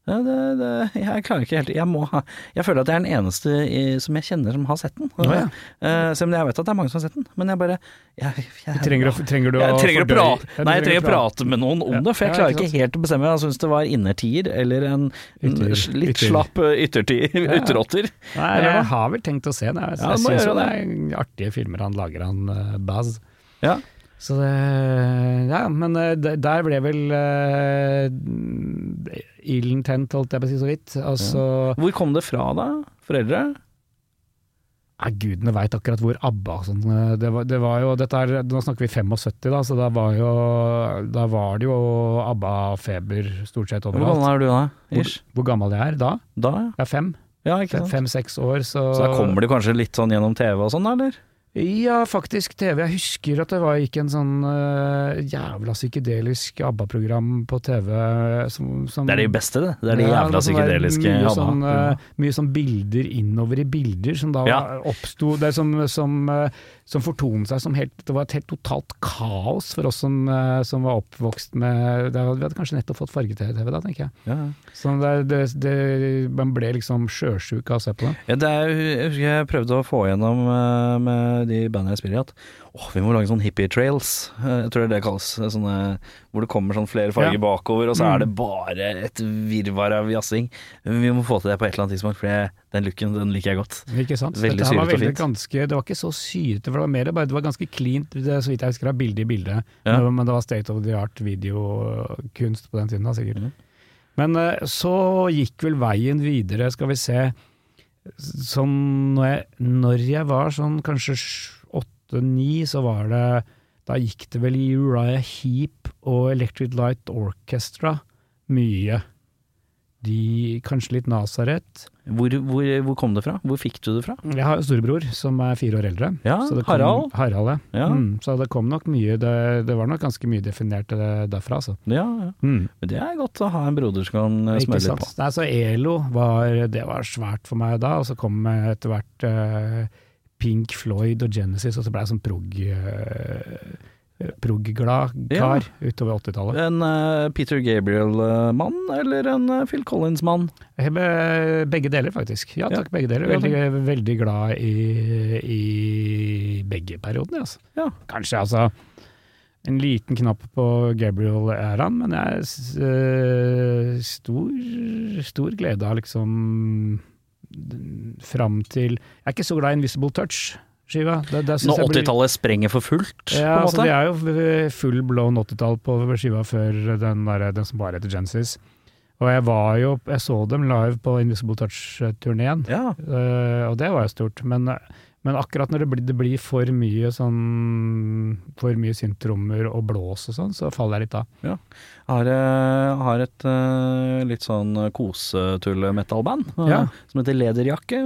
[SPEAKER 2] Ja, det, det, jeg klarer ikke helt Jeg må ha Jeg føler at jeg er den eneste i, som jeg kjenner som har sett den.
[SPEAKER 3] ja.
[SPEAKER 2] Eh, selv om jeg vet at det er mange som har sett den, men jeg bare jeg, jeg,
[SPEAKER 3] Trenger, å- trenger du
[SPEAKER 2] jeg trenger å
[SPEAKER 3] fordøye-
[SPEAKER 2] prate
[SPEAKER 3] Ja, du
[SPEAKER 2] Nei, jeg trenger å
[SPEAKER 3] prate.
[SPEAKER 2] prate med noen om
[SPEAKER 3] Ja.
[SPEAKER 2] det, for jeg
[SPEAKER 3] Ja,
[SPEAKER 2] klarer
[SPEAKER 3] ikke
[SPEAKER 2] ikke helt å bestemme. Jeg syns det var innertier eller en, en
[SPEAKER 3] Ytter-
[SPEAKER 2] sl- litt
[SPEAKER 3] ytter.
[SPEAKER 2] slapp eh, yttertier,
[SPEAKER 3] ja.
[SPEAKER 2] [laughs] ytterotter.
[SPEAKER 3] Nei,
[SPEAKER 2] Eller hva?
[SPEAKER 3] jeg har vel tenkt å se den. Jeg,
[SPEAKER 2] Ja,
[SPEAKER 3] jeg
[SPEAKER 2] du må
[SPEAKER 3] syns jo
[SPEAKER 2] gjøre
[SPEAKER 3] det er artige filmer han lager, han eh, Baz.
[SPEAKER 2] Ja.
[SPEAKER 3] Så det Ja, men eh, de- der ble vel uh, ilden tent, holdt jeg på å si, så vidt. Altså, Og så
[SPEAKER 2] Hvor kom det fra da? Foreldre?
[SPEAKER 3] ja, Gudene veit akkurat hvor ABBA og sånn eh, det, var- det var jo dette er, Nå snakker vi 75, da, så da var, jo, da var det jo ABBA-feber stort sett
[SPEAKER 2] Hvor gammel
[SPEAKER 3] overalt.
[SPEAKER 2] er du da?
[SPEAKER 3] Hvor,
[SPEAKER 2] Ish?
[SPEAKER 3] hvor gammel jeg er da?
[SPEAKER 2] Da, ja.
[SPEAKER 3] Jeg er fem.
[SPEAKER 2] ja ikke sant?
[SPEAKER 3] Fem-seks år, så
[SPEAKER 2] Så da kommer det kanskje litt sånn gjennom TV og sånn, da, eller?
[SPEAKER 3] Ja, faktisk TV. Jeg husker at det var gikk en sånn eh, jævla psykedelisk ABBA-program på TV. Som, som,
[SPEAKER 2] Det er de beste, det. Det er de
[SPEAKER 3] Ja,
[SPEAKER 2] jævla
[SPEAKER 3] som er sånn
[SPEAKER 2] psykedeliske Mm.
[SPEAKER 3] Mye,
[SPEAKER 2] ABBA.
[SPEAKER 3] sånn, eh, mye sånn bilder innover i bilder som da
[SPEAKER 2] Ja.
[SPEAKER 3] oppsto Det er som, som, eh, som fortonet seg som helt Det var et helt totalt kaos for oss som, eh, som var oppvokst med det, var- Vi hadde kanskje nettopp fått farge-TV da, tenker jeg.
[SPEAKER 2] Ja.
[SPEAKER 3] Så det, det, det, man ble liksom sjøsjuk av å se på det.
[SPEAKER 2] Ja, det er, jo- jeg husker jeg prøvde å få igjennom eh, med de bandene jeg spiller i at åh, vi må lage sånn hippie trails, eh, jeg tror det er det kalles. eh, Sånne, hvor det kommer sånn flere farger
[SPEAKER 3] Ja. Mm.
[SPEAKER 2] bakover, og så er det bare et virvar av jazzing. Vi må få til det på et eller annet tidspunkt, for jeg- den looken den liker jeg godt.
[SPEAKER 3] Ikke sant?
[SPEAKER 2] Veldig
[SPEAKER 3] Dette her var
[SPEAKER 2] syrete og fint.
[SPEAKER 3] veldig ganske, det var ikke så syrete, for det var mer bare, det var ganske cleant, det, er så vidt jeg husker, det er bilde i bilde.
[SPEAKER 2] Ja.
[SPEAKER 3] Men det var- Men det var state of the art videokunst på den tiden, da, sikkert.
[SPEAKER 2] Mhm.
[SPEAKER 3] Men eh, så gikk vel veien videre, skal vi se. Sånn når jeg, når jeg var sånn kanskje åtte-ni, så var det Da gikk det vel i Uriah Heap og Electric Light Orchestra mye. De, kanskje litt Nazareth.
[SPEAKER 2] Hvor, hvor, hvor kom det fra? Hvor fikk du det fra?
[SPEAKER 3] Jeg har jo storebror som er fire år eldre.
[SPEAKER 2] Ja,
[SPEAKER 3] Så det kom-
[SPEAKER 2] Harald.
[SPEAKER 3] Harald, ja.
[SPEAKER 2] Ja.
[SPEAKER 3] Mm, så det kom nok mye, det, det var nok ganske mye definert eh, derfra, altså.
[SPEAKER 2] Ja, ja. Men Det er godt å ha en broder som kan eh,
[SPEAKER 3] Ikke
[SPEAKER 2] smøre litt
[SPEAKER 3] sant?
[SPEAKER 2] Mm, på.
[SPEAKER 3] Nei, så ELO var, det var svært for meg da, og så kom eh, etter hvert eh, Pink Floyd og Genesis, og så ble jeg sånn prog... eh, prog-glad
[SPEAKER 2] Ja.
[SPEAKER 3] kar utover 80-tallet.
[SPEAKER 2] En eh, Peter Gabriel-mann eller en eh, Phil Collins-mann?
[SPEAKER 3] Jeg be- Begge deler, faktisk. Ja
[SPEAKER 2] Ja.
[SPEAKER 3] takk, begge deler.
[SPEAKER 2] Ja,
[SPEAKER 3] Veldig, veldig glad i, i begge periodene, altså.
[SPEAKER 2] Ja.
[SPEAKER 3] Kanskje, altså. En liten knapp på Gabriel-æraen, men jeg er s- eh, stor, stor glede av liksom den- fram til Jeg er ikke så glad i Invisible Touch-skiva. Det- det synes
[SPEAKER 2] Når
[SPEAKER 3] jeg blir-
[SPEAKER 2] 80-tallet sprenger for fullt, på
[SPEAKER 3] Ja,
[SPEAKER 2] en
[SPEAKER 3] altså,
[SPEAKER 2] måte?
[SPEAKER 3] det er jo f- full blown 80-tall på skiva før den, der, den som bare heter Genesis. Og jeg var jo, jeg så dem live på Invisible Touch-turneen,
[SPEAKER 2] ja.
[SPEAKER 3] Eh, og det var jo stort. Men, men akkurat når det blir, det blir for mye sånn For mye syntrommer og blås og sånn, så faller jeg litt av.
[SPEAKER 2] Har, eh, har et eh, litt sånn kosetull-metal-band eh,
[SPEAKER 3] Ja.
[SPEAKER 2] som heter Lederjakke.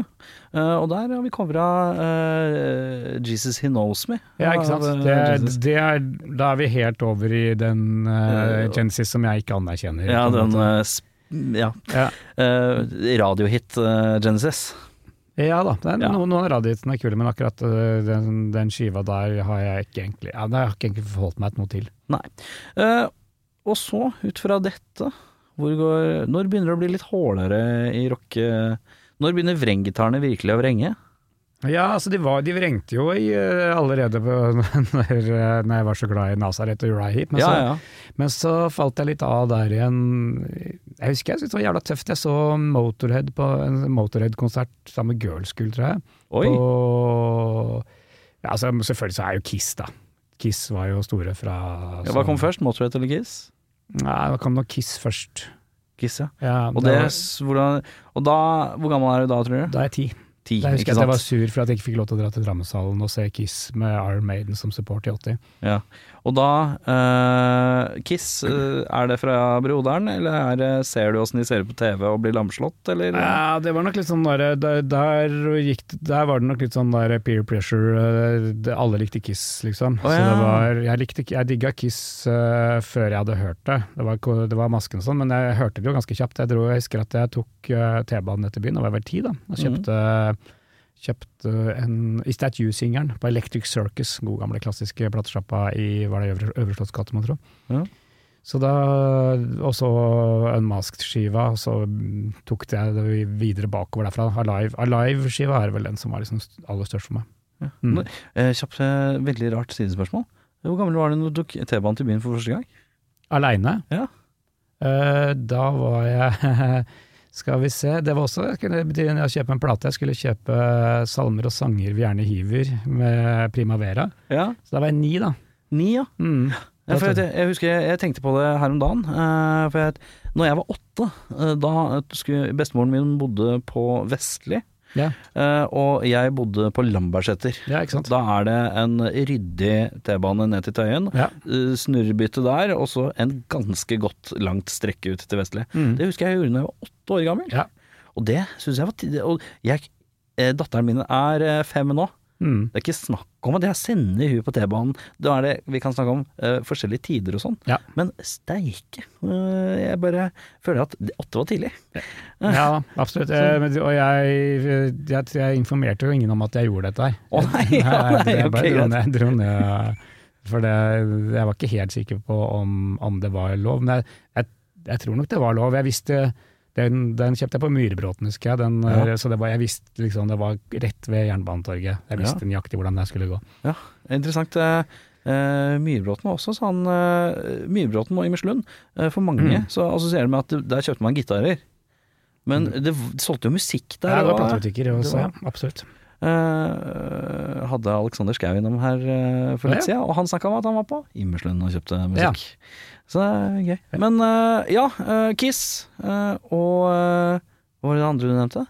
[SPEAKER 2] Eh, og der har vi covra eh, Jesus He Knows Me.
[SPEAKER 3] Ja, ikke sant?
[SPEAKER 2] av, eh,
[SPEAKER 3] Det er,
[SPEAKER 2] Jesus.
[SPEAKER 3] det er, da er vi helt over i den eh,
[SPEAKER 2] Eh,
[SPEAKER 3] Genesis som jeg ikke anerkjenner.
[SPEAKER 2] Ja,
[SPEAKER 3] på
[SPEAKER 2] den
[SPEAKER 3] en måte.
[SPEAKER 2] eh, sp- ja.
[SPEAKER 3] Ja.
[SPEAKER 2] Eh, radiohit eh, Genesis.
[SPEAKER 3] Ja da, det er
[SPEAKER 2] eh, Ja.
[SPEAKER 3] Noen, noen av radiohitene er kule, men akkurat øh, den, den skiva der har jeg ikke egentlig ja, det har jeg ikke egentlig forholdt meg noe til.
[SPEAKER 2] Eh, og så, ut fra dette, hvor går, når begynner det å bli litt hålere i rocke... Når begynner vrenggitarene virkelig å vrenge?
[SPEAKER 3] Ja, altså de, var, de vrengte jo i, øh, allerede på, [laughs] når, øh, når jeg var så glad i Nazaret og Uriah Heep, men,
[SPEAKER 2] Ja,
[SPEAKER 3] så-
[SPEAKER 2] ja.
[SPEAKER 3] men så falt jeg litt av der igjen. Jeg husker jeg syntes det var jævla tøft. Jeg så Motorhead på en Motorhead-konsert sammen med Girls School, tror jeg.
[SPEAKER 2] Oi.
[SPEAKER 3] På, ja, altså, selvfølgelig så er jo Kiss, da. Kiss var jo store fra
[SPEAKER 2] Ja, Hva kom
[SPEAKER 3] så-
[SPEAKER 2] først, Motorhead eller Kiss?
[SPEAKER 3] Nei, da kom nok Kiss først.
[SPEAKER 2] Kiss, ja.
[SPEAKER 3] Ja,
[SPEAKER 2] Og,
[SPEAKER 3] da
[SPEAKER 2] det,
[SPEAKER 3] var-
[SPEAKER 2] s- hvordan, og da, hvor gammel er du da, tror du?
[SPEAKER 3] Da er jeg ti.
[SPEAKER 2] Ti,
[SPEAKER 3] Da husker
[SPEAKER 2] ikke
[SPEAKER 3] jeg at jeg var
[SPEAKER 2] sant?
[SPEAKER 3] sur for at jeg ikke fikk lov til å dra til Drammenshallen og se Kiss med Iron Maiden som support i 80.
[SPEAKER 2] Ja. Og da, eh, Kiss, eh, er det fra broderen, eller er det, ser du åssen de ser på TV og blir lamslått, eller?
[SPEAKER 3] Ja, det var nok litt sånn der, der, der, gikk, det- der var det nok litt sånn der peer pressure. eh, Det, alle likte Kiss, liksom.
[SPEAKER 2] Å,
[SPEAKER 3] Så det
[SPEAKER 2] ja.
[SPEAKER 3] var, jeg, likte, ikke- jeg digga Kiss eh, før jeg hadde hørt det. Det var, ko- det var masken og sånn, men jeg hørte det jo ganske kjapt. Jeg, dro, jeg husker at jeg tok eh, T-banen etter byen, da var jeg vel ti, da. Og kjøpte, kjøpte en Is That You-singeren på Electric Circus, god gamle klassiske platesjappa i var det Øvre, Øvre Slottsgate, må jeg tro.
[SPEAKER 2] Ja.
[SPEAKER 3] Så da, og så Unmasked-skiva, og så mm, tok jeg det videre bakover derfra. Alive- Alive-skiva er vel den som var liksom st- aller størst for meg. Mm.
[SPEAKER 2] Eh, kjapt, eh, veldig rart sidespørsmål. Hvor gammel var du når du tok T-banen til byen for første gang?
[SPEAKER 3] Aleine.
[SPEAKER 2] Ja.
[SPEAKER 3] Eh, da var jeg [laughs] Skal vi se, det var også jeg kunne bety- å kjøpe en plate. Jeg skulle kjøpe eh, salmer og sanger vi gjerne hiver, med Primavera.
[SPEAKER 2] Ja,
[SPEAKER 3] Så da var jeg ni, da.
[SPEAKER 2] Ni, ja.
[SPEAKER 3] Mm.
[SPEAKER 2] ja for
[SPEAKER 3] Da-
[SPEAKER 2] jeg, jeg husker jeg, jeg tenkte på det her om dagen. eh, for jeg, når jeg var åtte, eh, da skulle bestemoren min bodde på Vestli,
[SPEAKER 3] ja,
[SPEAKER 2] eh, og jeg bodde på Lambertseter.
[SPEAKER 3] ja, ikke sant.
[SPEAKER 2] Da er det en ryddig T-bane ned til Tøyen,
[SPEAKER 3] Ja.
[SPEAKER 2] eh, snurrebytte der, og så en ganske godt langt strekke ut til Vestli.
[SPEAKER 3] Mm.
[SPEAKER 2] Det husker jeg gjorde da jeg var åtte år gammel.
[SPEAKER 3] Ja.
[SPEAKER 2] Og det syns jeg var tidlig. Og jeg, eh, datteren min er eh, fem nå.
[SPEAKER 3] Mm.
[SPEAKER 2] Det er ikke snakk om at jeg sender hun på T-banen. Da er det, Vi kan snakke om eh, forskjellige tider og sånn,
[SPEAKER 3] Ja.
[SPEAKER 2] men steike. eh, jeg bare føler at det- åtte var tidlig.
[SPEAKER 3] Ja, absolutt. Eh, men- Og jeg, jeg, jeg informerte jo ingen om at jeg gjorde dette her.
[SPEAKER 2] [laughs] Å nei, [laughs] ja, nei,
[SPEAKER 3] jeg
[SPEAKER 2] ok,
[SPEAKER 3] bare dro
[SPEAKER 2] greit.
[SPEAKER 3] ned, dro ned for det, jeg var ikke helt sikker på om, om det var lov, men jeg, jeg, jeg tror nok det var lov. Jeg visste, den, den kjøpte jeg på Myrbråten, husker jeg, den,
[SPEAKER 2] Ja.
[SPEAKER 3] eh, så det var, jeg visste liksom, det var rett ved Jernbanetorget. Jeg visste nøyaktig hvordan jeg skulle gå.
[SPEAKER 2] Interessant. eh, eh, Myrbråten var også sånn eh, Myrbråten og Imerslund, eh, for mange
[SPEAKER 3] Mm.
[SPEAKER 2] så assosierer det med at det- der kjøpte man gitarer. Men det v- solgte jo musikk der.
[SPEAKER 3] Mm. Ja, det var
[SPEAKER 2] og,
[SPEAKER 3] platebutikker
[SPEAKER 2] det
[SPEAKER 3] også,
[SPEAKER 2] var-
[SPEAKER 3] ja, absolutt.
[SPEAKER 2] eh, hadde Alexander Schou innom her eh, for litt
[SPEAKER 3] Ja,
[SPEAKER 2] siden, og han snakka om at han var på Immerslund og kjøpte
[SPEAKER 3] Ja.
[SPEAKER 2] musikk. Så det er gøy. Men eh, ja, eh, Kiss eh, og eh, Hva var det andre du nevnte?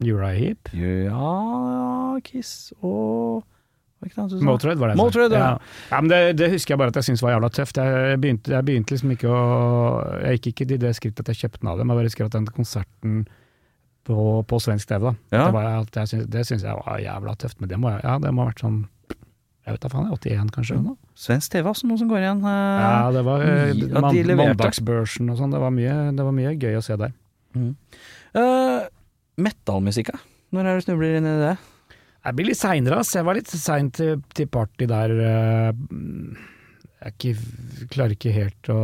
[SPEAKER 3] Uriah Heep.
[SPEAKER 2] Ja, Kiss og Hva var det andre du sa?
[SPEAKER 3] Motörhead var det. jeg sa.
[SPEAKER 2] Motörhead, ja.
[SPEAKER 3] ja. ja, men det, det husker jeg bare at jeg syntes var jævla tøft. Jeg begynte, jeg begynte liksom ikke å Jeg gikk ikke til det skrittet at jeg kjøpte den av dem, jeg bare husker at den konserten på, på svensk TV, da.
[SPEAKER 2] Ja.
[SPEAKER 3] Det, var, alt jeg syns- det syns jeg var jævla tøft, men det må, jeg- ja, det må ha vært sånn jeg vet da faen, 81 kanskje? eller noe?
[SPEAKER 2] Svensk TV er også noe som går igjen. eh,
[SPEAKER 3] Ja, det var eh,
[SPEAKER 2] de
[SPEAKER 3] man-
[SPEAKER 2] leverte.
[SPEAKER 3] Mandagsbørsen og sånn, det, var mye- det var mye gøy å se der.
[SPEAKER 2] Uh, Metallmusikk, ja. Når er det du snubler inn i det?
[SPEAKER 3] Jeg blir litt seinere, ass. Jeg var litt sein til, til party der. eh, Jeg er ikke, klarer ikke helt å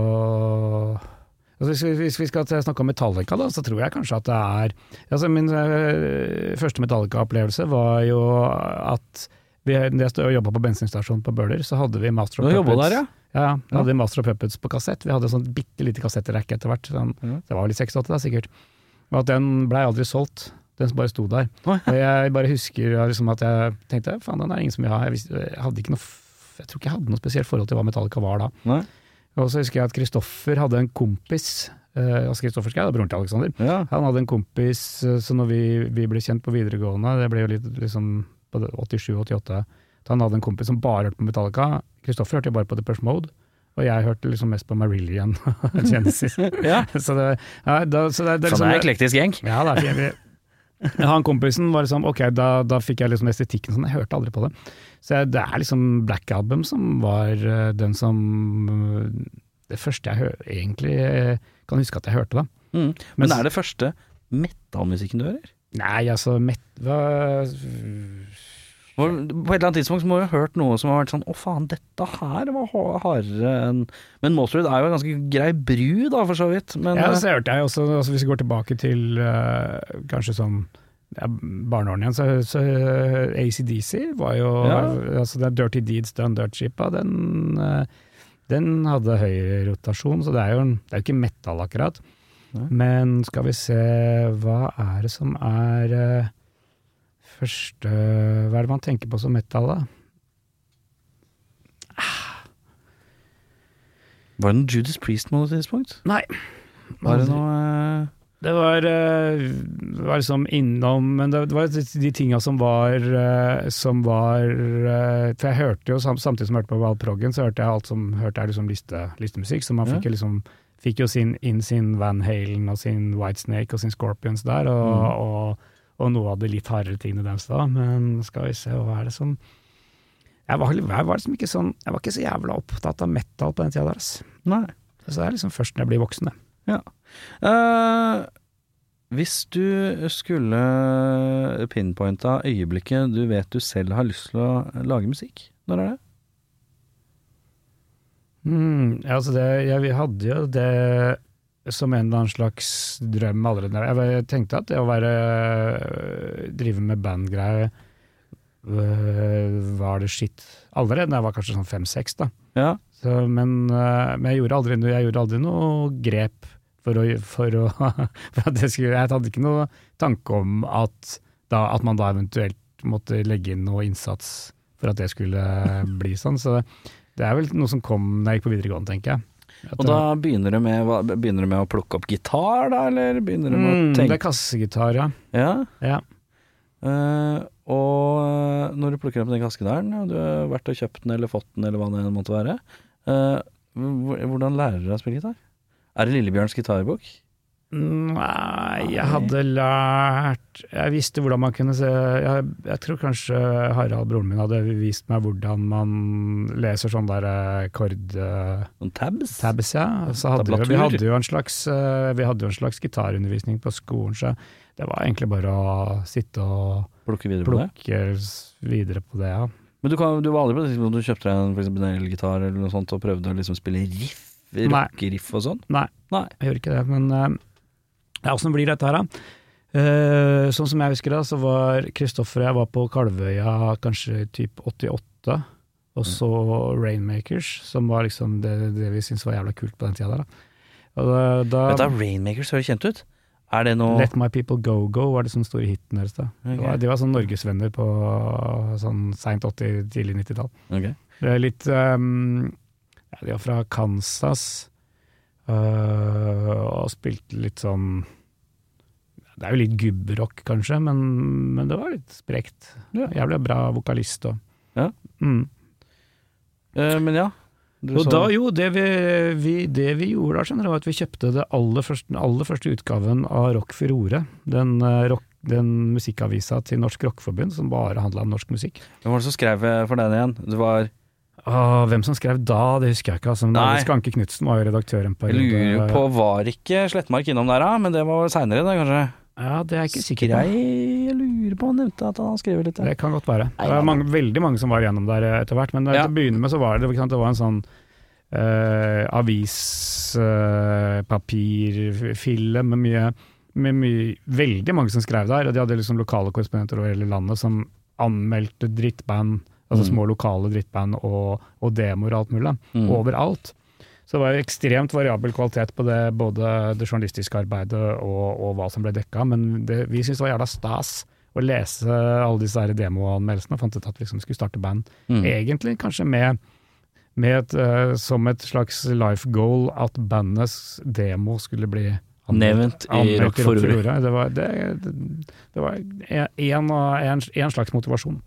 [SPEAKER 3] altså hvis, vi- hvis vi skal til- snakke om Metallica, da, så tror jeg kanskje at det er altså Min eh, første Metallica-opplevelse var jo at vi, da jeg stod og jobba på bensinstasjonen på Bøler, så hadde vi Master
[SPEAKER 2] Du
[SPEAKER 3] of
[SPEAKER 2] har jobba
[SPEAKER 3] Puppets.
[SPEAKER 2] der, ja?
[SPEAKER 3] Ja, ja. Vi hadde Master of Puppets på kassett. Vi hadde sånn bitte lite kassettrekke etter hvert. Sånn,
[SPEAKER 2] Mhm.
[SPEAKER 3] Det var vel i 68 da, sikkert. Og at den blei aldri solgt. Den som bare sto der.
[SPEAKER 2] Oi.
[SPEAKER 3] Og jeg bare husker ja, liksom at jeg tenkte faen, den er ingen som vil ha. Jeg, visste, jeg hadde ikke noe f- jeg tror ikke jeg hadde noe spesielt forhold til hva Metallica var da.
[SPEAKER 2] Nei.
[SPEAKER 3] Og så husker jeg at Kristoffer hadde en kompis, eh, altså Kristoffer Schei, broren til Alexander,
[SPEAKER 2] ja.
[SPEAKER 3] han hadde en kompis, eh, så når vi, vi ble kjent på videregående, det ble jo litt liksom på 87-88, så han hadde en kompis som bare hørte på Metallica. Kristoffer hørte jo bare på Depeche Mode, og jeg hørte liksom mest på Marillion og [laughs] Genesis.
[SPEAKER 2] ja.
[SPEAKER 3] så det, ja, da, så det,
[SPEAKER 2] Faen, det er
[SPEAKER 3] det, er liksom,
[SPEAKER 2] eklektisk gjeng.
[SPEAKER 3] ja, det
[SPEAKER 2] [laughs]
[SPEAKER 3] er ikke Han kompisen var liksom Ok, da, da fikk jeg liksom estetikken sånn. Jeg hørte aldri på det. Så jeg, det er liksom Black Album som var eh, den som eh, Det første jeg hø egentlig eh, kan huske at jeg hørte, da.
[SPEAKER 2] Mm.
[SPEAKER 3] Men
[SPEAKER 2] Men er det første metallmusikken du hører?
[SPEAKER 3] Nei, altså met, hva,
[SPEAKER 2] Hvor- På et eller annet tidspunkt så må du ha hørt noe som har vært sånn Å faen, dette her var ha- hardere enn Men Motörhead er jo en ganske grei bru, da, for så vidt. Men
[SPEAKER 3] Ja,
[SPEAKER 2] eh,
[SPEAKER 3] så hørte jeg også, altså hvis vi går tilbake til eh, kanskje sånn ja, barneåren igjen, så, så eh, ACDC var jo
[SPEAKER 2] Ja.
[SPEAKER 3] altså den Dirty Deeds Done Dirt Shipa, den, eh, den hadde høy rotasjon, så det er jo, en- det er jo ikke metal akkurat.
[SPEAKER 2] Nei.
[SPEAKER 3] Men skal vi se, hva er det som er eh, første Hva er det man tenker på som metal, da?
[SPEAKER 2] var det noe Judas Priest på noe tidspunkt?
[SPEAKER 3] Nei.
[SPEAKER 2] Var det noe eh,
[SPEAKER 3] Det var, eh, var liksom innom Men det var de- de tinga som var eh, Som var eh, For jeg hørte jo, sam- samtidig som jeg hørte på Valproggen, så hørte jeg alt som hørte jeg liksom liste, listemusikk. Så man
[SPEAKER 2] Ja.
[SPEAKER 3] fikk jo liksom Fikk jo sin, inn sin Van Halen og sin Whitesnake og sin Scorpions der, og, og, og noe av de litt hardere tingene deres da. Men skal vi se, hva er det som Jeg var, jeg var liksom ikke sånn Jeg var ikke så jævla opptatt av metal på den tida der, ass.
[SPEAKER 2] Nei.
[SPEAKER 3] Så det er liksom først når jeg blir voksen, det.
[SPEAKER 2] Eh, hvis du skulle pinpointa øyeblikket du vet du selv har lyst til å lage musikk, når er det?
[SPEAKER 3] Mm, ja, altså det, jeg, vi hadde jo det som en eller annen slags drøm allerede. da- Jeg, var- jeg tenkte at det å være, øh, drive med bandgreier øh, var det skitt allerede da jeg var kanskje sånn fem-seks. da.
[SPEAKER 2] Ja.
[SPEAKER 3] Så, men, øh, men jeg, gjorde aldri, noe- jeg gjorde aldri noe grep for, å, for, å, [laughs] for at det skulle Jeg hadde ikke noe tanke om at, da, at man da eventuelt måtte legge inn noe innsats for at det skulle bli sånn. Så det er vel noe som kom da jeg gikk på videregående, tenker jeg. At
[SPEAKER 2] Og da begynner du med, hva- begynner du med å plukke opp gitar, da, eller begynner du med
[SPEAKER 3] Mm,
[SPEAKER 2] å
[SPEAKER 3] det er
[SPEAKER 2] tenke
[SPEAKER 3] kassegitar, ja.
[SPEAKER 2] Ja.
[SPEAKER 3] ja.
[SPEAKER 2] Eh, og når du plukker opp den kaskedaren, og du har vært og kjøpt den eller fått den eller hva det enn måtte være, eh, hvor- hvordan lærer du deg å spille gitar? Er det Lillebjørns gitarbok?
[SPEAKER 3] Nei, jeg hadde lært Jeg visste hvordan man kunne se Jeg, jeg tror kanskje Harald, broren min, hadde vist meg hvordan man leser sånn der eh, kord... eh,
[SPEAKER 2] Noen tabs?
[SPEAKER 3] tabs, ja. Så hadde vi,
[SPEAKER 2] Tablatur.
[SPEAKER 3] vi hadde jo en slags, eh, vi hadde jo en slags gitarundervisning på skolen, så det var egentlig bare å sitte og
[SPEAKER 2] Plukke videre på det?
[SPEAKER 3] plukke s- videre på det, ja.
[SPEAKER 2] Men du, kan, du var aldri på det tidspunktet du kjøpte deg en, for eksempel en elgitar eller noe sånt og prøvde å liksom spille riff,
[SPEAKER 3] Nei.
[SPEAKER 2] rockeriff og sånn?
[SPEAKER 3] Jeg gjør ikke det, men eh, ja, åssen blir dette her, da? Eh, sånn som jeg husker det, så var Kristoffer og jeg var på Kalvøya kanskje typ 88, og så Rainmakers, som var liksom det, det vi syntes var jævla kult på den tida der, da. Og da, da
[SPEAKER 2] Vet du, Rainmakers høres kjent ut. Er det noe
[SPEAKER 3] Let My People Go Go var det som store hiten deres. da.
[SPEAKER 2] Ok.
[SPEAKER 3] Det var, de var sånn norgesvenner på sånn seint 80-, tidlig 90-tall.
[SPEAKER 2] Ok.
[SPEAKER 3] Det er litt ehm, ja, De var fra Kansas øh, og spilte litt sånn Det er jo litt gubberock, kanskje, men, men det var litt sprekt.
[SPEAKER 2] Ja.
[SPEAKER 3] Jævlig bra vokalist og
[SPEAKER 2] Ja.
[SPEAKER 3] Mm.
[SPEAKER 2] Eh, men ja. Du
[SPEAKER 3] Og
[SPEAKER 2] så-
[SPEAKER 3] da, jo, det vi, vi, det vi gjorde da, skjønner du, var at vi kjøpte det aller første, den aller første utgaven av Rock Furore. Den, eh, rock, den musikkavisa til Norsk Rockforbund som bare handla om norsk musikk.
[SPEAKER 2] Hvem var det som skrev eh, for den igjen? Det var
[SPEAKER 3] Åh, Ah, hvem som skrev da, det husker jeg ikke. Altså, men
[SPEAKER 2] Nei.
[SPEAKER 3] Skanke Knutsen var jo redaktøren på
[SPEAKER 2] Jeg lurer jo på, var ikke Slettmark innom der, da? Men det var seinere, da, kanskje?
[SPEAKER 3] Ja, det er jeg ikke sikker på.
[SPEAKER 2] Skrei, jeg lurer på, han nevnte at han har skrevet litt. ja.
[SPEAKER 3] Det kan godt være.
[SPEAKER 2] Nei,
[SPEAKER 3] det
[SPEAKER 2] nei,
[SPEAKER 3] var mange, veldig mange som var gjennom der etter hvert, men eh,
[SPEAKER 2] Ja.
[SPEAKER 3] til å begynne med så var det, ikke sant, det var en sånn eh, avispapirfille med mye, med mye Veldig mange som skrev der, og de hadde liksom lokale korrespondenter over hele landet som anmeldte drittband,
[SPEAKER 4] Mm.
[SPEAKER 3] altså små lokale drittband og, og demoer og alt mulig,
[SPEAKER 4] Mm.
[SPEAKER 3] overalt. Så det var jo ekstremt variabel kvalitet på det, både det journalistiske arbeidet og, og hva som ble dekka, men det, vi syntes det var jævla stas å lese alle disse her demoanmeldelsene, og fant ut at vi liksom skulle starte band
[SPEAKER 4] Mm.
[SPEAKER 3] egentlig kanskje med, med et, eh, som et slags life goal at bandets demo skulle bli
[SPEAKER 2] Nevnt i
[SPEAKER 3] anmeldt
[SPEAKER 2] Rock for Ordet.
[SPEAKER 3] Ordet. Det var, det, det var en, av- en, en slags motivasjon.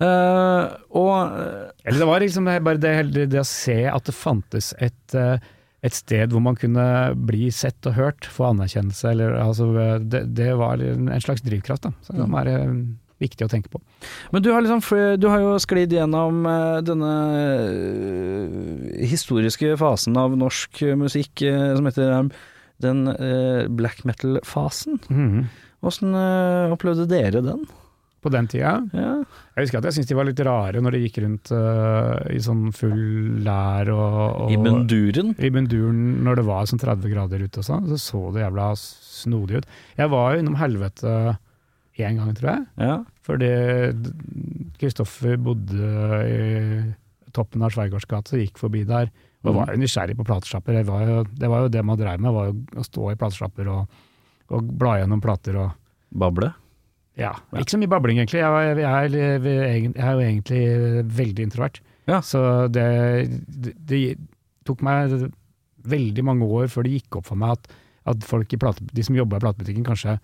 [SPEAKER 2] Eh, og eh,
[SPEAKER 3] Eller det var liksom det- bare det, hele- det å se at det fantes et, eh, et sted hvor man kunne bli sett og hørt, få anerkjennelse. Eller, altså, det, det var en en slags drivkraft, da. Så det kan være eh, viktig å tenke på.
[SPEAKER 2] Men du har, liksom, fl- du har jo sklidd gjennom eh, denne eh, historiske fasen av norsk eh, musikk eh, som heter eh, den eh, black metal-fasen. Åssen eh, opplevde dere den?
[SPEAKER 3] På den tida
[SPEAKER 2] Ja.
[SPEAKER 3] Jeg husker at jeg syntes de var litt rare når de gikk rundt eh, i sånn full lær og, og
[SPEAKER 2] I munduren?
[SPEAKER 3] i munduren når det var sånn 30 grader ute og sånn. Så så det jævla snodig ut. Jeg var jo innom helvete én gang, tror jeg.
[SPEAKER 2] Ja.
[SPEAKER 3] Fordi d- Kristoffer bodde i toppen av Sveigårds gate og gikk forbi der. Og var jo nysgjerrig på platesjapper. Det, var jo- det var jo det man dreiv med, var jo å stå i platesjapper og, og bla gjennom plater og
[SPEAKER 2] Bable?
[SPEAKER 3] ja, ikke så mye babling egentlig. Jeg, jeg, jeg, er- jeg, er jo egentlig veldig introvert.
[SPEAKER 2] Ja.
[SPEAKER 3] Så det, det, det tok meg veldig mange år før det gikk opp for meg at, at folk i plate, de som jobba i platebutikken, kanskje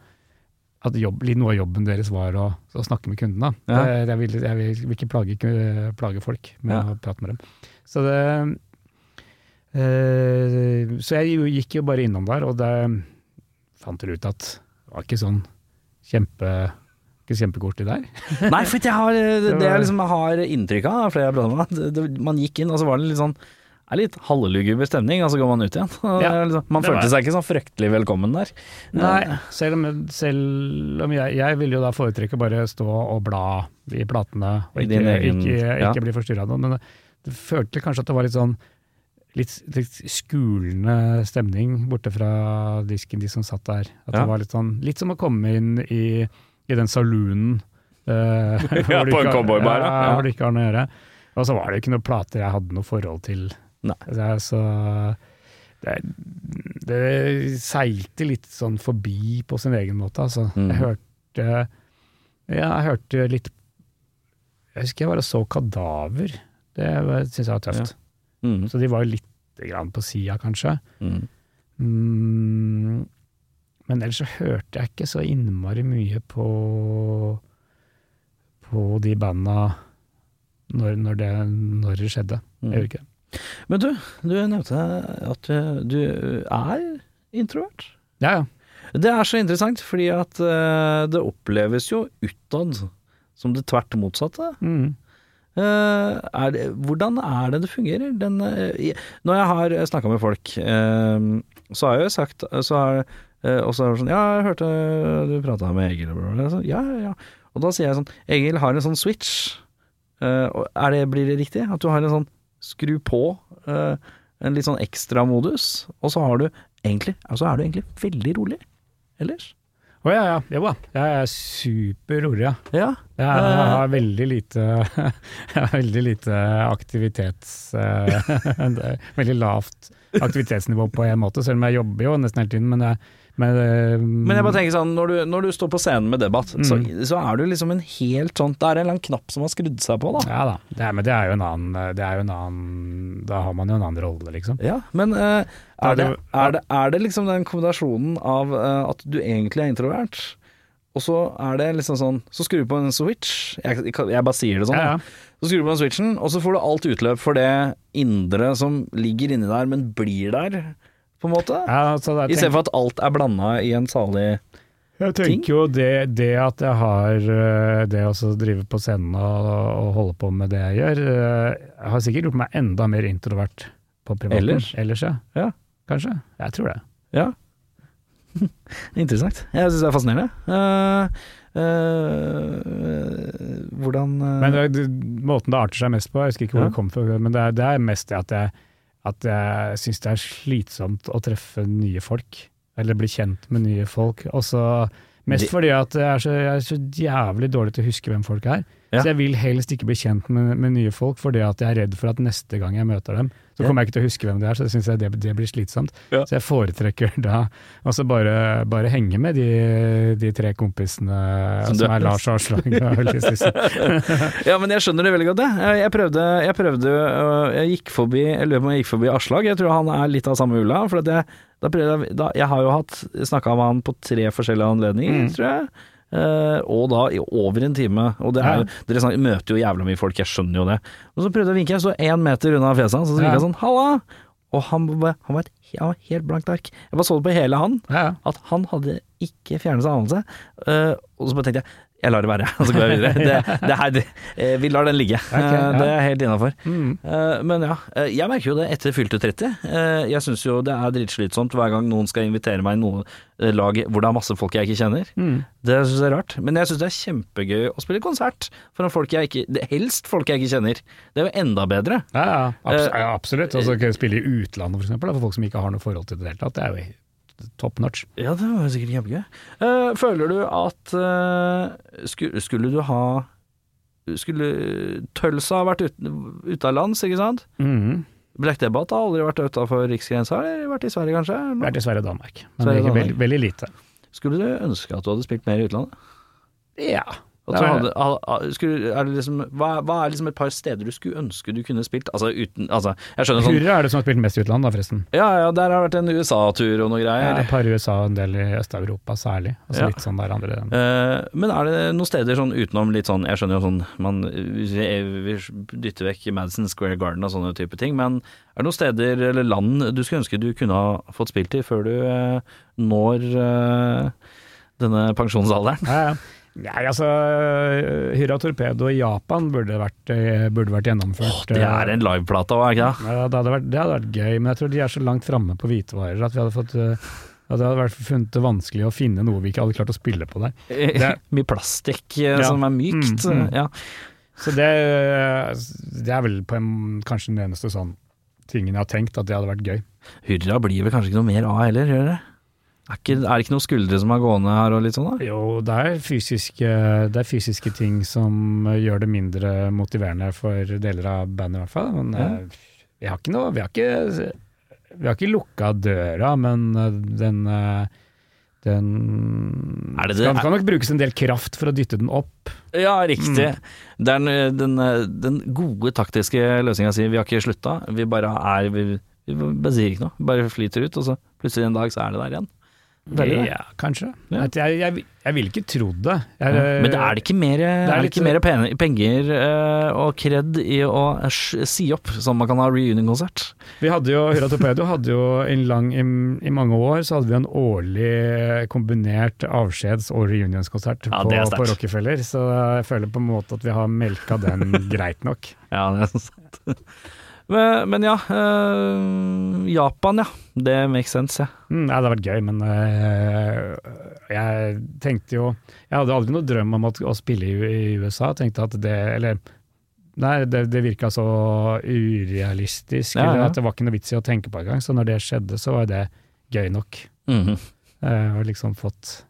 [SPEAKER 3] at jobb, litt noe av jobben deres var å, å snakke med kundene. da.
[SPEAKER 2] Ja.
[SPEAKER 3] Det, jeg, vil, jeg vil ikke plage, ku- plage folk med
[SPEAKER 2] Ja.
[SPEAKER 3] å prate med dem. Så det eh, Så jeg jo- gikk jo bare innom der, og det fant vel ut at det var ikke sånn kjempe ikke kjempekort i der.
[SPEAKER 2] [laughs] Nei, for jeg har, det,
[SPEAKER 3] Det
[SPEAKER 2] det
[SPEAKER 3] var-
[SPEAKER 2] jeg liksom har inntrykk av, flere jeg prater med, at det, det, man gikk inn, og så var det litt sånn det er litt halvluguber stemning, og så går man ut igjen. [laughs] Og det
[SPEAKER 3] Ja,
[SPEAKER 2] er liksom, man
[SPEAKER 3] det var
[SPEAKER 2] følte
[SPEAKER 3] det.
[SPEAKER 2] seg ikke sånn fryktelig velkommen der.
[SPEAKER 3] Nei, selv om, selv om jeg, jeg ville jo da foretrekke bare stå og bla i platene og
[SPEAKER 2] I
[SPEAKER 3] ikke,
[SPEAKER 2] din egen-
[SPEAKER 3] ikke,
[SPEAKER 2] ja.
[SPEAKER 3] ikke bli forstyrra av noen, men det følte kanskje at det var litt sånn litt, litt skulende stemning borte fra disken, de som satt der. At
[SPEAKER 2] Ja.
[SPEAKER 3] det var litt sånn Litt som å komme inn i, i den saloonen. eh, hvor
[SPEAKER 2] [laughs] Ja,
[SPEAKER 3] du
[SPEAKER 2] på en
[SPEAKER 3] ikke har-
[SPEAKER 2] cowboybar,
[SPEAKER 3] ja.
[SPEAKER 2] ja.
[SPEAKER 3] Hvor du ikke har noe å gjøre. Og så var det jo ikke noen plater jeg hadde noe forhold til.
[SPEAKER 2] Nei.
[SPEAKER 3] Det er så det, det seilte litt sånn forbi på sin egen måte. Altså.
[SPEAKER 2] Mhm.
[SPEAKER 3] Jeg hørte Ja, jeg hørte litt Jeg husker jeg var og så Kadaver. Det syns jeg var tøft.
[SPEAKER 2] Mm,
[SPEAKER 3] Så de var jo lite grann på sida, kanskje.
[SPEAKER 2] mm.
[SPEAKER 3] Mm, men ellers så hørte jeg ikke så innmari mye på på de banda når, når, det, når det skjedde.
[SPEAKER 2] Mm.
[SPEAKER 3] Jeg gjorde ikke det.
[SPEAKER 2] Men du, du nevnte at du, du er introvert.
[SPEAKER 3] Ja, ja.
[SPEAKER 2] Det er så interessant, fordi at eh, det oppleves jo utad som det tvert motsatte.
[SPEAKER 3] Mm.
[SPEAKER 2] Eh, er det, hvordan er det det fungerer? Den, eh, i- når jeg har snakka med folk, eh, så har jeg jo sagt så har, eh, Og så er det sånn Ja, jeg hørte du prata med Egil. Og bla, bla, bla. Så, ja, ja, ja. Og da sier jeg sånn Egil har en sånn switch. Eh, og er det, blir det riktig? At du har en sånn skru på, eh, en litt sånn ekstra modus, og så har du egentlig Og så er du egentlig veldig rolig ellers.
[SPEAKER 3] Å ja, ja. Jo da. Jeg er superrolig, ja.
[SPEAKER 2] Ja.
[SPEAKER 3] Jeg har- jeg har veldig lite, [laughs] jeg har veldig lite aktivitets... eh, [laughs] det er veldig lavt aktivitetsnivå på en måte, selv om jeg jobber jo nesten hele tiden. Men jeg, men, eh,
[SPEAKER 2] Men jeg bare tenker sånn, når du, når du står på scenen med debatt,
[SPEAKER 3] Mm.
[SPEAKER 2] så, så er du liksom en helt sånn Det er en eller annen knapp som har skrudd seg på, da.
[SPEAKER 3] Ja da. Det er, men det er jo en annen, det er jo en annen Da har man jo en annen rolle, liksom.
[SPEAKER 2] Ja, men eh,
[SPEAKER 3] Da er
[SPEAKER 2] er, det,
[SPEAKER 3] det-
[SPEAKER 2] er, det, er det liksom den kombinasjonen av eh, at du egentlig er introvert, og så er det liksom sånn Så skrur du på en switch, jeg, jeg kan- jeg bare sier det sånn,
[SPEAKER 3] Ja, ja.
[SPEAKER 2] så skrur du på den switchen, og så får du alt utløp for det indre som ligger inni der, men blir der, på en måte.
[SPEAKER 3] Ja, altså,
[SPEAKER 2] I
[SPEAKER 3] da tenker-
[SPEAKER 2] stedet for at alt er blanda i en salig
[SPEAKER 3] Jeg tenker jo det, det at jeg har eh, det å så drive på scenen og, og holde på med det jeg gjør, eh, har sikkert gjort meg enda mer introvert på privaten.
[SPEAKER 2] Ellers?
[SPEAKER 3] Ellers, ja.
[SPEAKER 2] Ja. [laughs]
[SPEAKER 3] Kanskje. Jeg tror det.
[SPEAKER 2] Ja. Interessant. Jeg syns det er fascinerende. Eh, eh, hvordan eh,
[SPEAKER 3] Men det, det- måten det arter seg mest på, jeg husker ikke hvor
[SPEAKER 2] Ja.
[SPEAKER 3] det kom fra, men det er, det er mest det at jeg, at jeg syns det er slitsomt å treffe nye folk, eller bli kjent med nye folk. Og så Mest
[SPEAKER 2] Det-
[SPEAKER 3] fordi at jeg er, så, jeg er så jævlig dårlig til å huske hvem folk er.
[SPEAKER 2] Ja.
[SPEAKER 3] Så jeg vil helst ikke bli kjent med, med nye folk, fordi at jeg er redd for at neste gang jeg møter dem, så
[SPEAKER 2] Ja.
[SPEAKER 3] kommer jeg ikke til å huske hvem det er, så syns jeg det, det blir slitsomt.
[SPEAKER 2] Ja.
[SPEAKER 3] Så jeg foretrekker da også bare, bare henge med de, de tre kompisene
[SPEAKER 2] Som
[SPEAKER 3] som,
[SPEAKER 2] du-
[SPEAKER 3] er Lars Arslag og Ulrikke Stissen.
[SPEAKER 2] [laughs] Ja, men jeg skjønner det veldig godt, det. Jeg, jeg prøvde, jeg prøvde øh, Jeg gikk forbi Jeg løp og gikk forbi Aslag. Jeg tror han er litt av samme ulla. For at jeg, da prøvde jeg da, Jeg har jo hatt snakka med han på tre forskjellige anledninger,
[SPEAKER 3] Mm.
[SPEAKER 2] tror jeg. Eh, og da i over en time. Og det er,
[SPEAKER 3] Ja.
[SPEAKER 2] jo- dere snak, møter jo jævla mye folk, jeg skjønner jo det. Og så prøvde jeg å vinke, jeg sto én meter unna fjeset hans, og så vinka jeg
[SPEAKER 3] Ja.
[SPEAKER 2] sånn 'halla'. Og han, bare- han var et han var helt blankt ark. Jeg bare så det på hele han
[SPEAKER 3] Ja, ja.
[SPEAKER 2] at han hadde ikke fjernelse av anelse. Eh, og så bare tenkte jeg jeg lar det være, [laughs] og så går jeg videre. Det, det her, det, eh, vi lar den ligge. Eh,
[SPEAKER 3] ja.
[SPEAKER 2] det er helt innafor.
[SPEAKER 3] Mm.
[SPEAKER 2] men ja, eh, jeg merker jo det etter fylte 30. Eh, jeg syns jo det er dritslitsomt hver gang noen skal invitere meg i noe eh, lag hvor det er masse folk jeg ikke kjenner.
[SPEAKER 3] Mm.
[SPEAKER 2] Det syns jeg er rart. Men jeg syns det er kjempegøy å spille konsert foran folk jeg ikke det- Helst folk jeg ikke kjenner. Det er jo enda bedre.
[SPEAKER 3] Ja, ja. Abs
[SPEAKER 2] Eh,
[SPEAKER 3] ja absolutt. Og så kan jeg spille i utlandet, for eksempel, da, for folk som ikke har noe forhold til det i det hele tatt. Det er jo top notch.
[SPEAKER 2] Ja, det var jo sikkert kjempegøy. Eh, føler du at eh, skulle, skulle du ha Skulle Tølsa ha vært ute, ute av lands, ikke sant? Mm. Black Debate har aldri vært utafor riksgrensa, eller vært i Sverige kanskje? eller
[SPEAKER 3] Det
[SPEAKER 2] noe?
[SPEAKER 3] er dessverre Danmark, men
[SPEAKER 2] Sverige og
[SPEAKER 3] veldig, veldig, veldig lite.
[SPEAKER 2] Skulle du ønske at du hadde spilt mer i utlandet?
[SPEAKER 3] Ja.
[SPEAKER 2] At
[SPEAKER 3] Det
[SPEAKER 2] du
[SPEAKER 3] er-
[SPEAKER 2] hadde, ha- ha- skulle, er det liksom, hva, hva er liksom et par steder du skulle ønske du kunne spilt? Altså uten Altså, jeg skjønner sånn
[SPEAKER 3] Hurra er det som har spilt mest i utlandet, da, forresten.
[SPEAKER 2] Ja ja, der har det vært en USA-tur og noe
[SPEAKER 3] Ja,
[SPEAKER 2] greier.
[SPEAKER 3] et par i USA og en del i Øst-Europa særlig. Og
[SPEAKER 2] Ja.
[SPEAKER 3] så litt sånn der andre.
[SPEAKER 2] Eh, men er det noen steder sånn utenom litt sånn Jeg skjønner jo sånn man, vi, vi dytter vekk Madison Square Garden og sånne type ting, men er det noen steder eller land du skulle ønske du kunne ha fått spilt i før du eh, når eh, denne pensjonsalderen?
[SPEAKER 3] Ja, ja. Nei, altså Hyra Torpedo i Japan burde vært, eh, burde vært gjennomført.
[SPEAKER 2] Det
[SPEAKER 3] eh,
[SPEAKER 2] er en liveplate òg, er det ikke det?
[SPEAKER 3] Ja, det, hadde vært, det hadde vært gøy, men jeg tror de er så langt framme på hvitevarer at vi hadde fått eh, at det hadde vært funnet det vanskelig å finne noe vi ikke hadde klart å spille på der. Det-
[SPEAKER 2] [laughs] Mye plastikk eh,
[SPEAKER 3] Ja.
[SPEAKER 2] som er mykt.
[SPEAKER 3] Mm, mm.
[SPEAKER 2] Ja.
[SPEAKER 3] Så det, eh, det er vel på en, kanskje den eneste sånn tingen jeg har tenkt, at det hadde vært gøy.
[SPEAKER 2] Hurra blir vel kanskje ikke noe mer av heller, gjør det? Er, ikke, er det ikke noen skuldre som er gående her og litt sånn, da?
[SPEAKER 3] Jo, det er fysiske, det er fysiske ting som eh, gjør det mindre motiverende for deler av bandet, i hvert fall. Men eh, vi har ikke noe Vi har ikke, vi har ikke lukka døra, men eh, den eh, den
[SPEAKER 2] Er det det?
[SPEAKER 3] Kan, kan nok brukes en del kraft for å dytte den opp.
[SPEAKER 2] Ja, riktig. Det er den, den, den gode taktiske løsninga si. Vi har ikke slutta, vi bare er Vi, vi bare sier ikke noe. Bare flyter ut, og så plutselig en dag så er det der igjen. Veldig det.
[SPEAKER 3] ja, kanskje.
[SPEAKER 2] Ja.
[SPEAKER 3] At Jeg, jeg, jeg ville ikke trodd det. Jeg,
[SPEAKER 2] Men det er det ikke mer, eh, er det
[SPEAKER 3] litt-
[SPEAKER 2] ikke mer pen- penger eh, og kred i å sj- si opp, sånn man kan ha reunion-konsert?
[SPEAKER 3] Vi hadde jo, Hurra Torpedo hadde jo en lang, i, i mange år så hadde vi en årlig kombinert avskjeds- og reunionskonsert
[SPEAKER 2] Ja,
[SPEAKER 3] på,
[SPEAKER 2] det er sterkt.
[SPEAKER 3] på Rockefeller, så jeg føler på en måte at vi har melka
[SPEAKER 2] [laughs]
[SPEAKER 3] den greit nok.
[SPEAKER 2] Ja, det er sant. [laughs] Men, men ja. eh, Japan, ja. Det makes sense, ja.
[SPEAKER 3] Mm, ja, det hadde vært gøy, men eh, jeg tenkte jo Jeg hadde aldri noen drøm om at, å spille i, i USA. Tenkte at det Eller Nei, det, det virka så urealistisk,
[SPEAKER 2] Ja, ja.
[SPEAKER 3] eller at det var ikke noe vits i å tenke på engang. Så når det skjedde, så var det gøy nok.
[SPEAKER 2] Mhm.
[SPEAKER 3] Eh, og liksom fått,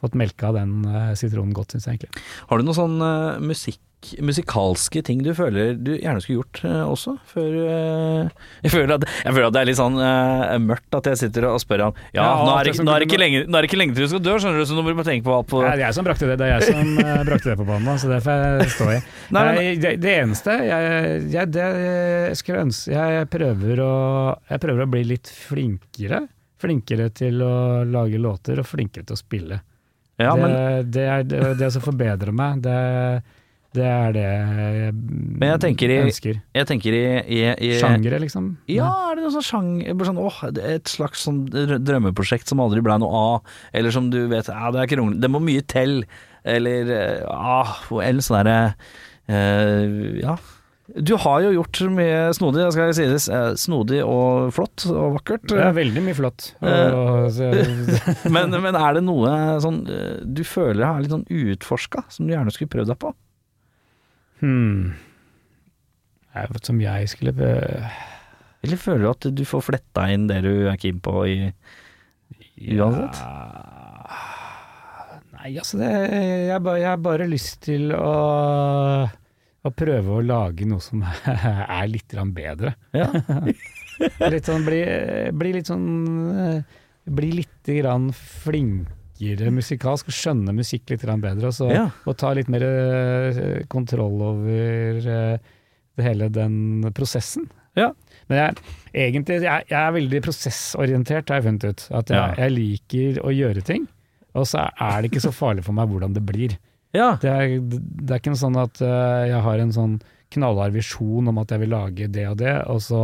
[SPEAKER 3] fått melka den eh, sitronen godt, syns jeg egentlig.
[SPEAKER 2] Har du noen sånn eh, musikk, musikalske ting du føler du gjerne skulle gjort eh, også? Før, eh, jeg, føler at, jeg føler at det er litt sånn eh, mørkt at jeg sitter og spør han Ja,
[SPEAKER 3] Ja,
[SPEAKER 2] nå,
[SPEAKER 3] alt
[SPEAKER 2] er det,
[SPEAKER 3] det
[SPEAKER 2] ikke-
[SPEAKER 3] som
[SPEAKER 2] nå, er det
[SPEAKER 3] kunne-
[SPEAKER 2] ikke lenge, nå er det ikke lenge til du skal dø, skjønner du, så nå må du bare tenke på alt på
[SPEAKER 3] Det er jeg som brakte det, det er jeg som
[SPEAKER 2] [laughs]
[SPEAKER 3] eh, brakte det på banen, da, så det får jeg stå i.
[SPEAKER 2] Nei, men-
[SPEAKER 3] Nei, det, det eneste jeg, jeg, det, jeg skulle ønske jeg prøver, å, jeg prøver å bli litt flinkere. Flinkere til å lage låter og flinkere til å spille.
[SPEAKER 2] ja,
[SPEAKER 3] det,
[SPEAKER 2] men,
[SPEAKER 3] det er det, det som forbedrer meg. Det, det er det jeg,
[SPEAKER 2] men jeg tenker i,
[SPEAKER 3] ønsker.
[SPEAKER 2] jeg tenker i, i, i
[SPEAKER 3] Sjangere, liksom.
[SPEAKER 2] Ja, er det noe sånn sjanger bare sånn, åh, det er Et slags sånn drø- drømmeprosjekt som aldri ble noe av, eller som du vet ja, det, er kronglete, det må mye til, eller eh, ah, Eller sånn derre eh, Ja. Du har jo gjort mye snodig, det skal sies. eh, Snodig og flott og vakkert.
[SPEAKER 3] Det er veldig mye flott.
[SPEAKER 2] Eh.
[SPEAKER 3] Og,
[SPEAKER 2] [laughs]
[SPEAKER 3] så,
[SPEAKER 2] Men, men er det noe sånn eh, du føler er litt sånn uutforska, som du gjerne skulle prøvd deg på?
[SPEAKER 3] hmm. Nei, Som jeg skulle be-
[SPEAKER 2] Eller føler du at du får fletta inn det du er keen på i uansett?
[SPEAKER 3] Ja. Nei, altså det jeg, ba, jeg har bare lyst til å, å prøve å lage noe som [laughs] er litt grann bedre.
[SPEAKER 2] Ja.
[SPEAKER 3] [laughs] Litt sånn, bli, bli litt sånn eh, Bli litt grann flinkere musikalsk, skjønne musikk litt grann bedre. Og, så,
[SPEAKER 2] Ja.
[SPEAKER 3] og ta litt mer eh, kontroll over eh, det hele den prosessen.
[SPEAKER 2] Ja.
[SPEAKER 3] Men jeg, egentlig, jeg, jeg er veldig prosessorientert, har jeg funnet ut. At jeg,
[SPEAKER 2] Ja.
[SPEAKER 3] jeg liker å gjøre ting, og så er det ikke så farlig for meg hvordan det blir.
[SPEAKER 2] ja.
[SPEAKER 3] Det er, det er ikke en sånn at eh, jeg har en sånn knallhard visjon om at jeg vil lage det og det, og så,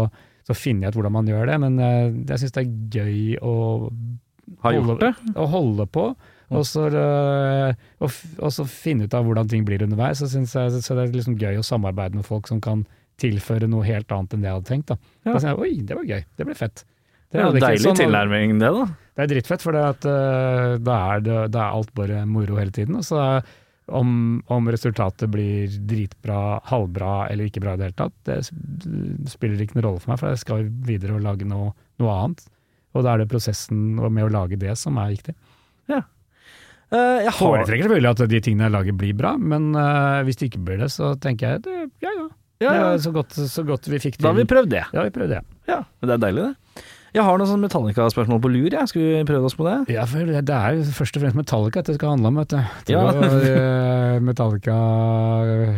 [SPEAKER 3] så finner jeg ut hvordan man gjør det, men jeg, jeg syns det er gøy å,
[SPEAKER 2] Har gjort det?
[SPEAKER 3] å holde på.
[SPEAKER 2] Mm.
[SPEAKER 3] Og så, eh, og, f- og så finne ut av hvordan ting blir underveis. Så synes jeg så det er liksom gøy å samarbeide med folk som kan tilføre noe helt annet enn det jeg hadde tenkt. Da.
[SPEAKER 2] Ja.
[SPEAKER 3] Da sier jeg, Oi, det var gøy. Det ble fett.
[SPEAKER 2] Det er jo
[SPEAKER 3] hadde
[SPEAKER 2] en
[SPEAKER 3] ikke-
[SPEAKER 2] deilig
[SPEAKER 3] sånn hadde-
[SPEAKER 2] tilnærming, det, da.
[SPEAKER 3] det er drittfett, for det at, eh, da, er det, da er alt bare moro hele tiden. Og så er- om, om resultatet blir dritbra, halvbra eller ikke bra i det hele tatt, det sp- spiller ikke noen rolle for meg, for jeg skal videre og lage noe, noe annet. Og da er det prosessen med å lage det som er viktig.
[SPEAKER 2] Eh, jeg har
[SPEAKER 3] Foretrekker selvfølgelig at de tingene jeg lager blir bra, men eh, hvis det ikke blir det, så tenker jeg det, ja ja.
[SPEAKER 2] ja,
[SPEAKER 3] Det
[SPEAKER 2] ja.
[SPEAKER 3] var så godt, så godt vi fikk til.
[SPEAKER 2] Da har vi prøvd det.
[SPEAKER 3] ja, vi prøvde det.
[SPEAKER 2] Ja, men Det er deilig, det. Jeg har noen sånne Metallica-spørsmål på lur. Jeg. Skal vi prøve oss på det?
[SPEAKER 3] Ja, for det, det er jo først og fremst Metallica dette skal handle om, vet du. Jeg
[SPEAKER 2] Ja.
[SPEAKER 3] Tror eh, Metallica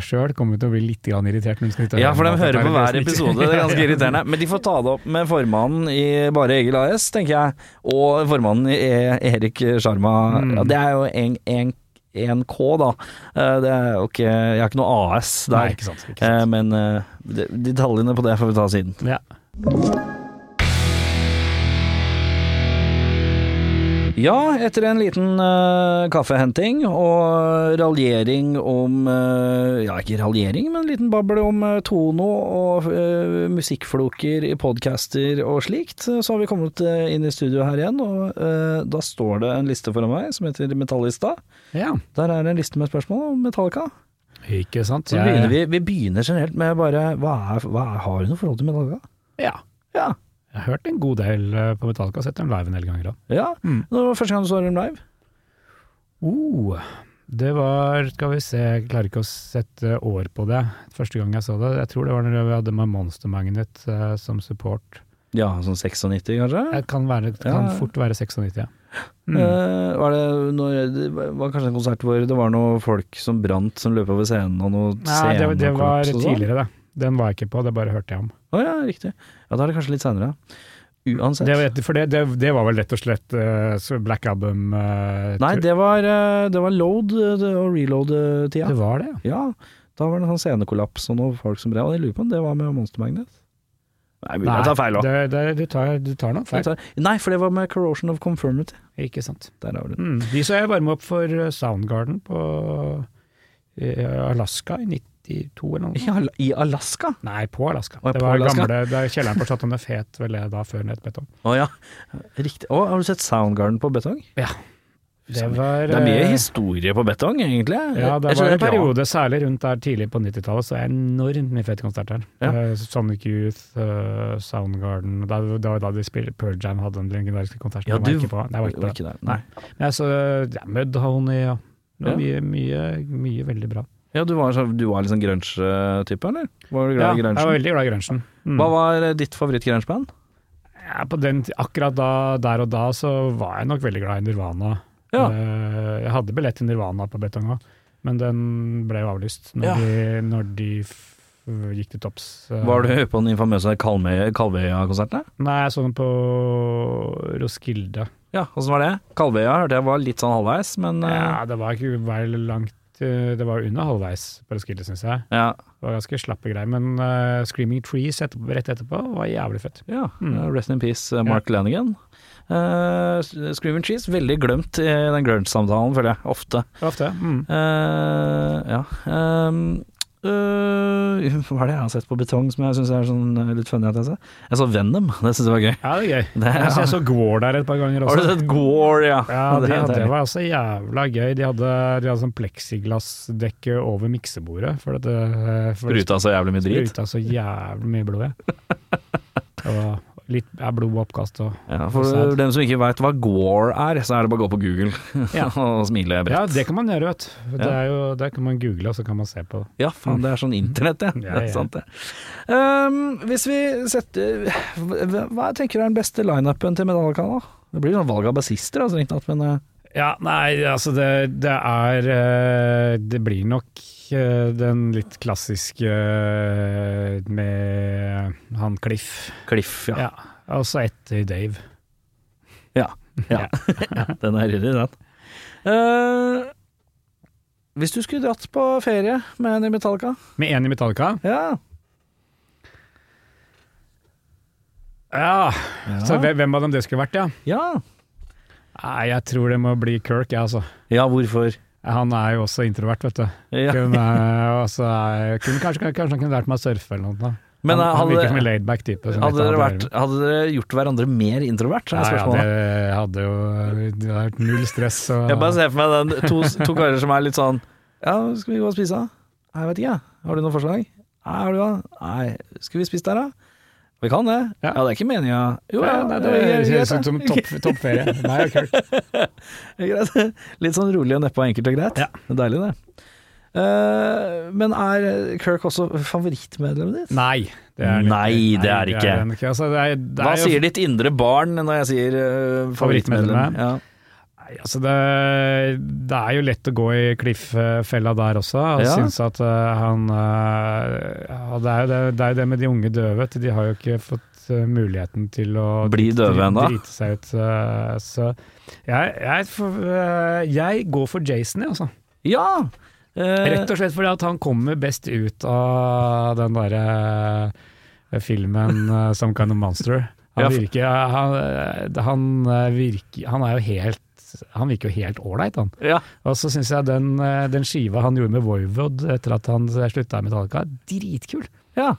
[SPEAKER 3] sjøl kommer til å bli litt grann irritert når de skal ut og
[SPEAKER 2] Ja, for de
[SPEAKER 3] høre
[SPEAKER 2] hører
[SPEAKER 3] på
[SPEAKER 2] på hver
[SPEAKER 3] Metallica.
[SPEAKER 2] episode. Det er ganske irriterende. Men de får ta det opp med formannen i Bare Egil AS, tenker jeg. Og formannen i E- Erik Sjarma. Ja, det er jo en, en, 1K, da. Eh, Det er jo ikke Jeg har ikke noe AS
[SPEAKER 3] Nei,
[SPEAKER 2] der.
[SPEAKER 3] ikke sant. Ikke
[SPEAKER 2] Eh,
[SPEAKER 3] sant.
[SPEAKER 2] Men eh, de- detaljene på det får vi ta siden.
[SPEAKER 3] Ja.
[SPEAKER 2] Ja, etter en liten eh, kaffehenting og raljering om eh, Ja, ikke raljering, men en liten bable om eh, Tono og eh, musikkfloker i podcaster og slikt, eh, så har vi kommet eh, inn i studio her igjen, og eh, da står det en liste foran meg som heter Metallista.
[SPEAKER 3] ja,
[SPEAKER 2] Der er det en liste med spørsmål om Metallica.
[SPEAKER 3] ikke sant.
[SPEAKER 2] Så
[SPEAKER 3] Jeg-
[SPEAKER 2] begynner vi, vi begynner generelt med bare hva er, hva er, Har du noe forhold til Metallica?
[SPEAKER 3] Ja.
[SPEAKER 2] Ja.
[SPEAKER 3] Jeg har hørt en god del eh, på Metallica, sett dem live en del ganger òg.
[SPEAKER 2] ja.
[SPEAKER 3] Mm.
[SPEAKER 2] Det var første gang du så dem live.
[SPEAKER 3] Uh, det var Skal vi se, jeg klarer ikke å sette år på det. Første gang jeg så det, jeg tror det var når vi hadde med Monster Magnet eh, som support.
[SPEAKER 2] Ja, sånn 96, kanskje?
[SPEAKER 3] Det kan, være, kan
[SPEAKER 2] Ja.
[SPEAKER 3] fort være 96, ja. Mm.
[SPEAKER 2] Eh, var det, når, det var kanskje en konsert hvor det var noe folk som brant, som løp over scenen, og noe
[SPEAKER 3] Nei, det, det var
[SPEAKER 2] scenekollaps og sånn?
[SPEAKER 3] tidligere, det. Den var jeg ikke på, det bare hørte jeg om.
[SPEAKER 2] Å ja, riktig. Ja, da er det kanskje litt seinere. Uansett.
[SPEAKER 3] Det, vet- for det, det, det var vel rett og slett eh, så Black Album eh,
[SPEAKER 2] Nei,
[SPEAKER 3] tur-
[SPEAKER 2] det var, eh, det var load eh, det- og reload-tida.
[SPEAKER 3] det var det, ja.
[SPEAKER 2] Ja, da var det en sånn scenekollaps og noe folk som brant. Og Jeg lurer på om det var med Monster Magnet. Nei, mulig jeg tar feil òg.
[SPEAKER 3] det, det, du, tar, du tar noe feil.
[SPEAKER 2] Nei, for det var med Corrosion of Conformity.
[SPEAKER 3] Ikke sant.
[SPEAKER 2] Der har du den.
[SPEAKER 3] Mm. De så jeg varme opp for eh, Soundgarden på eh, Alaska i 92 eller noe. sånt.
[SPEAKER 2] I Al- I Alaska?
[SPEAKER 3] Nei, på Alaska.
[SPEAKER 2] Å, ja,
[SPEAKER 3] det
[SPEAKER 2] på
[SPEAKER 3] var
[SPEAKER 2] Alaska.
[SPEAKER 3] gamle, det er kjelleren på Chateau Neufet, vel det da, før Nettbeton.
[SPEAKER 2] Å ja, riktig. Å, har du sett Soundgarden på betong?
[SPEAKER 3] Det var
[SPEAKER 2] Det er mye
[SPEAKER 3] eh,
[SPEAKER 2] historie på betong, egentlig.
[SPEAKER 3] Ja, det
[SPEAKER 2] Jeg skjønner
[SPEAKER 3] var en
[SPEAKER 2] bra.
[SPEAKER 3] periode, særlig rundt der tidlig på 90-tallet, så er det enormt mye fete konserter.
[SPEAKER 2] Ja.
[SPEAKER 3] Eh, Sonic Youth, eh, Soundgarden da, da, da de spilte Pearl Jam hadde den legendariske konserten.
[SPEAKER 2] Ja,
[SPEAKER 3] jeg var
[SPEAKER 2] du-
[SPEAKER 3] ikke på. Nei, jeg var ikke på den.
[SPEAKER 2] der. Nei.
[SPEAKER 3] Men jeg så ja, Mudhoney og det var mye, mye, mye veldig bra.
[SPEAKER 2] Ja, du var, så- du var litt sånn grunge-type, eller? Var du
[SPEAKER 3] Ja,
[SPEAKER 2] glad i
[SPEAKER 3] jeg
[SPEAKER 2] grunge?
[SPEAKER 3] var veldig glad i grunchen. Mm.
[SPEAKER 2] Hva var eh, ditt favoritt-grunge-band?
[SPEAKER 3] Ja, på den, ti- akkurat da, der og da så var jeg nok veldig glad i Nirvana.
[SPEAKER 2] Ja.
[SPEAKER 3] Eh, Jeg hadde billett til Nirvana på Betong òg, men den ble jo avlyst når
[SPEAKER 2] Ja.
[SPEAKER 3] de, når de f gikk til topps. eh.
[SPEAKER 2] Var du på den infamøse Kalmøy- Kalvøya-konserten?
[SPEAKER 3] Nei, jeg så den på Roskilde.
[SPEAKER 2] Ja, åssen var det? Kalvøya hørte jeg var litt sånn halvveis, men eh,
[SPEAKER 3] Ja, det var ikke vel langt eh, Det var under halvveis på Roskilde, syns jeg.
[SPEAKER 2] ja.
[SPEAKER 3] Det var ganske slappe greier. Men eh, Screaming Trees etterpå, rett etterpå var jævlig fett.
[SPEAKER 2] Ja,
[SPEAKER 3] Mm.
[SPEAKER 2] eh, Rest in peace, eh, Mark Lanigan. Eh, Screaming Cheese, veldig glemt i den grunge-samtalen, føler jeg. Ofte.
[SPEAKER 3] Det var ofte. Mm.
[SPEAKER 2] Eh, ja. Ehm, øh, [laughs] Hva er det jeg har sett på betong som jeg syns er sånn øh, litt funny? at Jeg, ser? jeg så Venom, [laughs] det syns jeg var gøy.
[SPEAKER 3] Ja, det er gøy.
[SPEAKER 2] Det,
[SPEAKER 3] Jeg, jeg så Gore der et par ganger også.
[SPEAKER 2] Har du sett Gore, ja?
[SPEAKER 3] Ja, de
[SPEAKER 2] det,
[SPEAKER 3] hadde,
[SPEAKER 2] det,
[SPEAKER 3] [laughs] det var også jævla gøy. De hadde, de hadde sånn pleksiglassdekke over miksebordet. For at det, for det
[SPEAKER 2] Spruta så jævlig mye drit.
[SPEAKER 3] spruta så jævlig mye blod. [laughs] Ja. Det var litt er blod og oppkast og
[SPEAKER 2] Ja, for dem som ikke veit hva Gore er, så er det bare å gå på Google [laughs]
[SPEAKER 3] Ja.
[SPEAKER 2] og smile bredt.
[SPEAKER 3] Ja, det kan man gjøre, vet du. Det
[SPEAKER 2] Ja.
[SPEAKER 3] er jo, der kan man google, og så kan man se på det.
[SPEAKER 2] Ja, faen, det er sånn internett, det.
[SPEAKER 3] [laughs] Ja,
[SPEAKER 2] Det
[SPEAKER 3] ja.
[SPEAKER 2] er sant, det. Ehm, hvis vi setter Hva hva tenker du er den beste lineupen til Medaljekanalen? Det blir sånn valg av bassister, altså, riktig nok, men eh,
[SPEAKER 3] Ja, nei, altså det, det er eh, Det blir nok eh, den litt klassiske eh, med han Cliff.
[SPEAKER 2] Cliff, ja.
[SPEAKER 3] Ja. Og så etter Dave.
[SPEAKER 2] Ja. [laughs] Den er ryddig, den. Eh, hvis du skulle dratt på ferie med en i Metallica
[SPEAKER 3] Med én i Metallica.
[SPEAKER 2] Ja.
[SPEAKER 3] Ja, Så
[SPEAKER 2] Ja.
[SPEAKER 3] hvem hvem av dem det skulle vært, ja?
[SPEAKER 2] ja.
[SPEAKER 3] Nei, jeg tror det må bli Kirk, jeg, altså.
[SPEAKER 2] ja, hvorfor?
[SPEAKER 3] Han er jo også introvert, vet du.
[SPEAKER 2] Ja.
[SPEAKER 3] Kunne, eh, altså, er- kunne, kanskje, kanskje han kunne lært meg å surfe eller noe. da.
[SPEAKER 2] Men eh,
[SPEAKER 3] han, han virker som en
[SPEAKER 2] hadde,
[SPEAKER 3] laidback type. som
[SPEAKER 2] hadde,
[SPEAKER 3] vet hva
[SPEAKER 2] dere
[SPEAKER 3] han
[SPEAKER 2] vært,
[SPEAKER 3] driver med.
[SPEAKER 2] hadde dere gjort hverandre mer introvert? er
[SPEAKER 3] Nei, ja,
[SPEAKER 2] spørsmålet.
[SPEAKER 3] det hadde jo det hadde vært null stress. Og,
[SPEAKER 2] Jeg bare ser for meg den, to, to karer som er litt sånn Ja, skal vi gå og spise? da? Nei, Jeg vet ikke, jeg. Har du noen forslag? Nei, har du det? Nei, skal vi spise der, da? Vi kan det. Ja,
[SPEAKER 3] Ja.
[SPEAKER 2] det er ikke meninga. Jo, ja,
[SPEAKER 3] Ja, nei, det
[SPEAKER 2] er greit,
[SPEAKER 3] høres
[SPEAKER 2] det.
[SPEAKER 3] ut som topp, toppferie. Nei, det er kult.
[SPEAKER 2] Det er greit. [laughs] Litt sånn rolig og nedpå, enkelt og greit.
[SPEAKER 3] Ja.
[SPEAKER 2] Det er deilig, det. Eh, men er Kirk også favorittmedlemmet ditt?
[SPEAKER 3] Nei, det er
[SPEAKER 2] Nei, det er ikke.
[SPEAKER 3] den ikke. Altså, det er, det
[SPEAKER 2] Hva
[SPEAKER 3] er jo-
[SPEAKER 2] sier ditt indre barn når jeg sier eh, favorittmedlem?
[SPEAKER 3] Favorittmedlem?
[SPEAKER 2] Ja.
[SPEAKER 3] Nei, altså det, det er jo lett å gå i Cliff-fella der også. Jeg
[SPEAKER 2] Ja.
[SPEAKER 3] synes at eh, han eh, ja, det, er jo det, det er jo det med de unge døve. vet du. De har jo ikke fått eh, muligheten til å
[SPEAKER 2] Bli
[SPEAKER 3] dri-
[SPEAKER 2] døve ennå?
[SPEAKER 3] Drite seg ut. eh, Så jeg, jeg, får- eh, jeg går for Jason, jeg, altså.
[SPEAKER 2] ja. Eh,
[SPEAKER 3] Rett og slett fordi at han kommer best ut av den derre eh, filmen eh, Some Kind of Monster.
[SPEAKER 2] Ja,
[SPEAKER 3] Han
[SPEAKER 2] for-
[SPEAKER 3] virker Han, eh, han, eh, virker, han er jo helt Han virker jo helt ålreit, han.
[SPEAKER 2] ja.
[SPEAKER 3] Og så syns jeg den, eh, den skiva han gjorde med Voivod etter at han slutta i Metallica, er dritkul.
[SPEAKER 2] ja.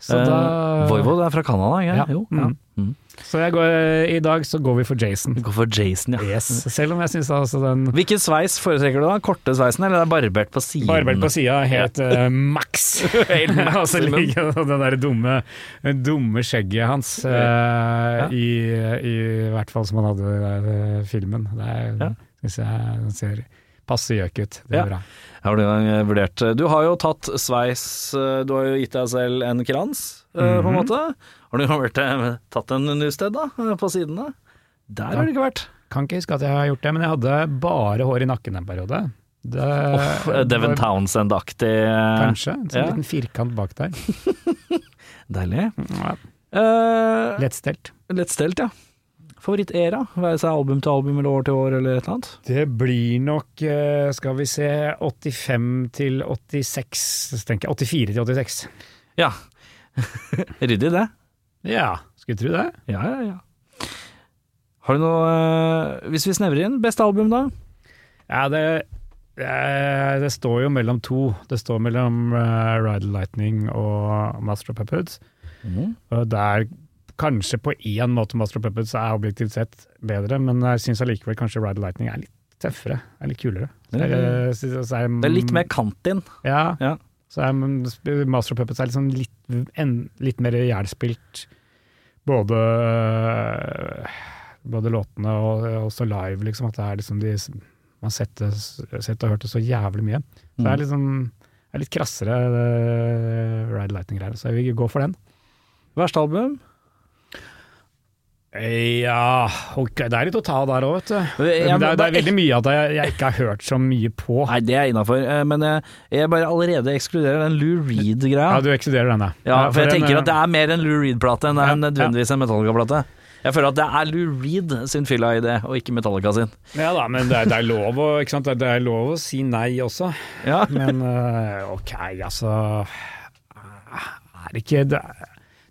[SPEAKER 3] Så,
[SPEAKER 2] Eh,
[SPEAKER 3] da,
[SPEAKER 2] Voivod er fra Canada, ikke?
[SPEAKER 3] Ja.
[SPEAKER 2] Jo.
[SPEAKER 3] Mm.
[SPEAKER 2] Ja. Mm.
[SPEAKER 3] så jeg går, i dag så går vi for Jason.
[SPEAKER 2] Vi går for Jason, ja.
[SPEAKER 3] Yes. Selv om jeg syns altså den
[SPEAKER 2] Hvilken sveis foretrekker du da? Korte sveisen, eller er det barbert på siden?
[SPEAKER 3] Barbert
[SPEAKER 2] [laughs]
[SPEAKER 3] på sida het uh, Max. [laughs] Og så altså, ligger det der dumme, dumme skjegget hans eh, i, i hvert fall som han hadde i den der, eh, filmen. Det er,
[SPEAKER 2] Ja.
[SPEAKER 3] synes jeg den ser passe gjøk ut. Det er
[SPEAKER 2] Ja.
[SPEAKER 3] bra.
[SPEAKER 2] Har du eh, vurdert Du har jo tatt sveis eh, Du har jo gitt deg selv en krans, eh, på en måte. Har du [laughs] vært, eh, tatt en nusted, da? eh, På sidene? Der har du ikke vært.
[SPEAKER 3] Kan ikke huske at jeg har gjort det, men jeg hadde bare hår i nakken en periode. Det,
[SPEAKER 2] Off, eh, Devon
[SPEAKER 3] var-
[SPEAKER 2] Townsend-aktig. eh,
[SPEAKER 3] Kanskje. En sånn
[SPEAKER 2] Ja.
[SPEAKER 3] liten firkant bak der.
[SPEAKER 2] Deilig.
[SPEAKER 3] Ja.
[SPEAKER 2] Eh,
[SPEAKER 3] Lettstelt.
[SPEAKER 2] lett stelt, ja. Favorittera? Være seg album til album eller år til år eller et eller annet?
[SPEAKER 3] Det blir nok, eh, skal vi se, 85 til 86, tenker jeg. 84 til 86.
[SPEAKER 2] Ja. Ryddig, det.
[SPEAKER 3] Ja, skulle tro det.
[SPEAKER 2] Ja, ja, ja. Har du noe eh, Hvis vi snevrer inn, beste album, da?
[SPEAKER 3] Ja, det, eh, det står jo mellom to. Det står mellom eh, Ride the Lightning og Master of Puppets. Og det er kanskje på én måte Master of Puppets er objektivt sett bedre, men jeg syns allikevel kanskje Ride the Lightning er litt tøffere. Er litt kulere. Så er, det- så er, så
[SPEAKER 2] Det er litt mer kant inn.
[SPEAKER 3] Ja.
[SPEAKER 2] Ja.
[SPEAKER 3] Så er mm, Master of Puppets er liksom litt, en, litt mer jernspilt. Både, øh, både låtene og og også live, liksom. At det er liksom de Man har sett det s- sett og hørt det så jævlig mye. Så det er liksom det er litt krassere øh, Ride Lightning-greier, så jeg vil gå for den.
[SPEAKER 2] Verste album?
[SPEAKER 3] Ja ok, Det er litt å ta der òg, vet du.
[SPEAKER 2] Jeg-
[SPEAKER 3] Men det, er, det er
[SPEAKER 2] bare-
[SPEAKER 3] veldig mye at jeg, jeg ikke har hørt så mye på.
[SPEAKER 2] Nei, det er innafor, Eh, men jeg, jeg bare allerede ekskluderer den Lou
[SPEAKER 3] Ja,
[SPEAKER 2] Reed-greia.
[SPEAKER 3] du ekskluderer den, ja.
[SPEAKER 2] Ja, for jeg
[SPEAKER 3] den,
[SPEAKER 2] tenker
[SPEAKER 3] øh,
[SPEAKER 2] at det er mer en Lou Reed-plate enn det
[SPEAKER 3] Ja,
[SPEAKER 2] er nødvendigvis en Metallica-plate. Jeg føler at det er Lou Reed sin fylla i det, og ikke Metallica sin.
[SPEAKER 3] Ja da, men det er, det er, lov, å, ikke sant? Det er- Det er lov å si nei også.
[SPEAKER 2] Ja,
[SPEAKER 3] Men eh, ok, altså Er det ikke Det,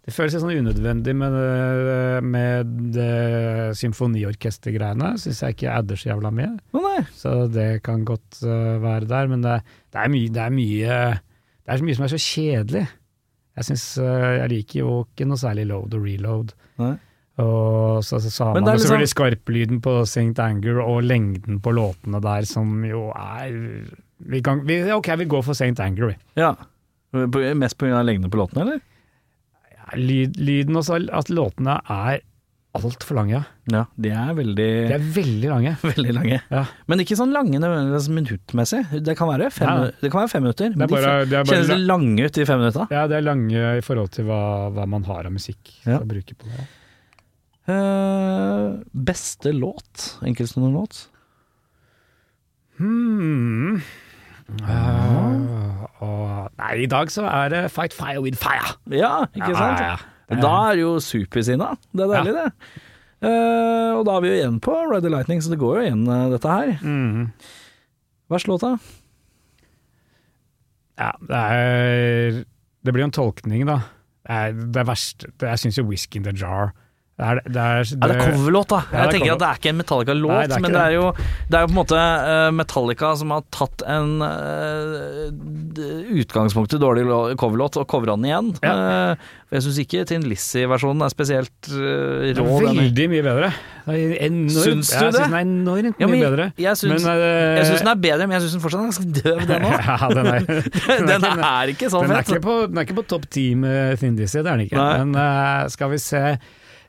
[SPEAKER 3] det føles litt sånn unødvendig med, det- med det symfoniorkestergreiene. Syns jeg ikke adder så jævla mye.
[SPEAKER 2] Å, nei.
[SPEAKER 3] Så det kan godt eh, være der, men det, det er mye det er mye Det er så mye som er så kjedelig. Jeg synes, eh, jeg liker jo ikke noe særlig load og reload.
[SPEAKER 2] Nei.
[SPEAKER 3] Og så, så, så har
[SPEAKER 2] Men det
[SPEAKER 3] man
[SPEAKER 2] er
[SPEAKER 3] jo
[SPEAKER 2] liksom-
[SPEAKER 3] selvfølgelig skarplyden på St. Anger og lengden på låtene der som jo er vi kan, vi, Ok, vi går for St. Anger, vi.
[SPEAKER 2] Ja. På- Mest pga. lengden på låtene, eller?
[SPEAKER 3] Ja, Lyd, lyden også, at låtene er altfor lange. ja.
[SPEAKER 2] Ja, de er veldig,
[SPEAKER 3] De er veldig lange.
[SPEAKER 2] [laughs] veldig lange.
[SPEAKER 3] Ja.
[SPEAKER 2] Men ikke sånn lange nødvendigvis minuttmessig. Det kan være fem,
[SPEAKER 3] Ja.
[SPEAKER 2] det kan være fem minutter.
[SPEAKER 3] Det
[SPEAKER 2] Men
[SPEAKER 3] er bare,
[SPEAKER 2] de fe-
[SPEAKER 3] det er
[SPEAKER 2] kjennes
[SPEAKER 3] bare
[SPEAKER 2] det lange ut i fem minutter?
[SPEAKER 3] ja, det er lange i forhold til hva, hva man har av musikk
[SPEAKER 2] Ja.
[SPEAKER 3] å bruke på det.
[SPEAKER 2] Eh, beste låt? Enkeltstående låt?
[SPEAKER 3] Hmm. Eh, og- nei, i dag så er det Fight Fire With Fire. Eh,
[SPEAKER 2] Ja, ikke sant?
[SPEAKER 3] Ja, ja, ja.
[SPEAKER 2] Da er det jo supersinna. Det er deilig, det. Eh, og da er vi jo igjen på Ready Lightning, så det går jo igjen, eh, dette her.
[SPEAKER 3] Mhm.
[SPEAKER 2] Verst låta?
[SPEAKER 3] Ja, det er Det blir jo en tolkning, da. Det er, det er verst det, Jeg syns jo Whisky in the Jar Det er, det er,
[SPEAKER 2] Ja, det er coverlåt, da.
[SPEAKER 3] Ja, det er
[SPEAKER 2] jeg tenker
[SPEAKER 3] cover.
[SPEAKER 2] at det er ikke en Metallica-låt,
[SPEAKER 3] Nei, det er ikke
[SPEAKER 2] men det
[SPEAKER 3] det.
[SPEAKER 2] er, jo, det er jo på en måte eh, Metallica som har tatt en eh, d- utgangspunktet dårlig lå- coverlåt og covra den igjen. Eh, jeg syns ikke Tin Lizzie-versjonen er spesielt eh,
[SPEAKER 3] det er
[SPEAKER 2] rå. den.
[SPEAKER 3] veldig mye bedre. Det er enormt,
[SPEAKER 2] Syns du
[SPEAKER 3] jeg
[SPEAKER 2] det?
[SPEAKER 3] Synes den er enormt
[SPEAKER 2] Ja,
[SPEAKER 3] mye
[SPEAKER 2] men jeg-
[SPEAKER 3] bedre.
[SPEAKER 2] jeg syns-
[SPEAKER 3] Men, eh,
[SPEAKER 2] Jeg syns den er bedre, men jeg syns den fortsatt er ganske døv, den òg.
[SPEAKER 3] [laughs] ja, den er,
[SPEAKER 2] [laughs] Den er ikke sånn
[SPEAKER 3] Den er
[SPEAKER 2] fett.
[SPEAKER 3] ikke på, den er ikke på topp ti med Thin Lizzy, det er den ikke.
[SPEAKER 2] Nei.
[SPEAKER 3] Men eh, skal vi se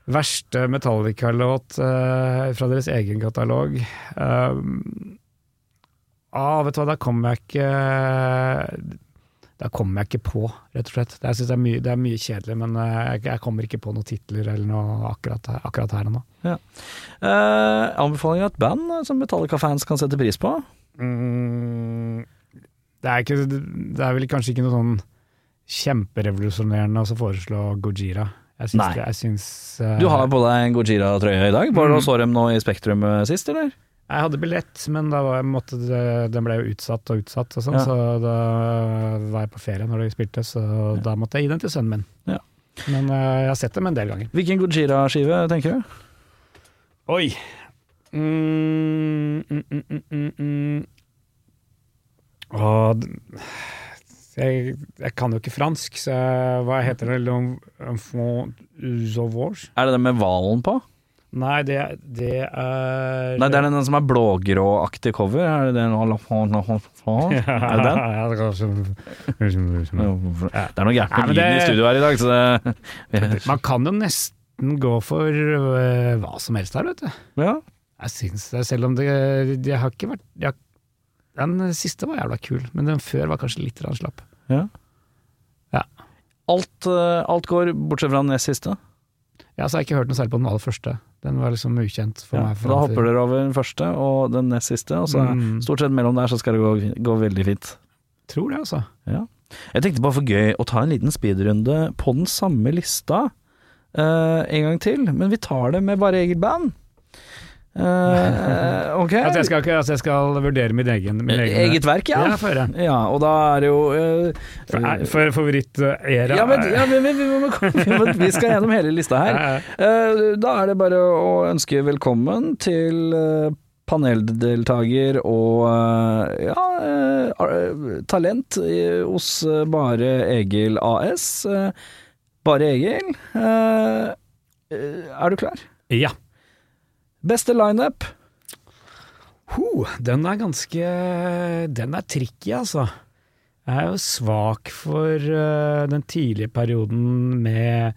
[SPEAKER 3] verste Metallica-låt eh, fra deres egen katalog Um, ah, Vet du hva, da kommer jeg ikke Da kommer jeg ikke på, rett og slett. Det, jeg synes det, er, mye, det er mye kjedelig, men eh, jeg, jeg kommer ikke på noen titler eller noe akkurat, her- akkurat her og nå.
[SPEAKER 2] Eh, anbefaling av et band eh, som Metallica-fans kan sette pris på.
[SPEAKER 3] Mm, det, er ikke, det er vel kanskje ikke noe sånn kjemperevolusjonerende å så foreslå Gojira. Jeg syns,
[SPEAKER 2] Nei.
[SPEAKER 3] det, jeg syns eh,
[SPEAKER 2] Du har på deg en Gojira-trøye i dag.
[SPEAKER 3] Mm.
[SPEAKER 2] Var det og så dem nå i Spektrum eh, sist, eller?
[SPEAKER 3] Jeg hadde billett, men da var jeg, måtte, det- den ble jo utsatt og utsatt, og sånn,
[SPEAKER 2] Ja.
[SPEAKER 3] så da var jeg på ferie når de spilte, så da måtte jeg gi den til sønnen min.
[SPEAKER 2] Ja.
[SPEAKER 3] Men eh, jeg har sett dem en del ganger.
[SPEAKER 2] Hvilken Gojira-skive tenker du?
[SPEAKER 3] Oi! Mm, mm, mm, mm, mm, mm. Åh, d- jeg, jeg kan jo ikke fransk, så jeg- hva heter det? L'enfant sauvage?
[SPEAKER 2] Er det den med hvalen på?
[SPEAKER 3] Nei, det, det er
[SPEAKER 2] Nei, det er den, den som er blågrå-aktig cover. Er det den [laughs] Er det den?
[SPEAKER 3] [laughs] Ja, det kan-
[SPEAKER 2] Ja, Det er noe gærent
[SPEAKER 3] Nei,
[SPEAKER 2] med
[SPEAKER 3] men
[SPEAKER 2] lyden i
[SPEAKER 3] det-
[SPEAKER 2] studio her i dag, så det
[SPEAKER 3] Man kan jo nesten gå for øh, hva som helst her, vet du.
[SPEAKER 2] Ja.
[SPEAKER 3] Jeg syns det, selv om det de har ikke vært de har, Den siste var jævla kul, men den før var kanskje litt grann slapp.
[SPEAKER 2] Alt, eh, alt går, bortsett fra den nest siste.
[SPEAKER 3] Ja, så har jeg ikke hørt noe særlig på den aller første. Den var liksom ukjent for
[SPEAKER 2] Ja,
[SPEAKER 3] meg.
[SPEAKER 2] da hopper Altså- dere over den første og den nest siste, og så
[SPEAKER 3] Mm.
[SPEAKER 2] stort sett mellom der så skal det gå, gå veldig fint.
[SPEAKER 3] Tror det, altså.
[SPEAKER 2] Jeg tenkte bare for gøy å ta en liten speedrunde på den samme lista eh, en gang til, men vi tar det med bare eget band. Eh, ok?
[SPEAKER 3] Altså, jeg skal, ikke, altså, jeg skal vurdere min egen, min egen
[SPEAKER 2] E- Eget verk,
[SPEAKER 3] Ja,
[SPEAKER 2] ja.
[SPEAKER 3] få høre.
[SPEAKER 2] ja. og da er det jo eh,
[SPEAKER 3] For, er- for favoritt-era
[SPEAKER 2] ja, men, ja, men, men, vi må [laughs] komme- vi må- vi skal gjennom hele lista her. Eh, Da er det bare å ønske velkommen til eh, paneldeltaker og eh, ja, eh, ar- talent i- hos eh, Bare Egil AS. Eh, Bare Egil, eh, eh, er du klar?
[SPEAKER 3] ja.
[SPEAKER 2] Beste lineup?
[SPEAKER 3] Ho, den er ganske Den er tricky, altså. Jeg er jo svak for eh, den tidlige perioden med,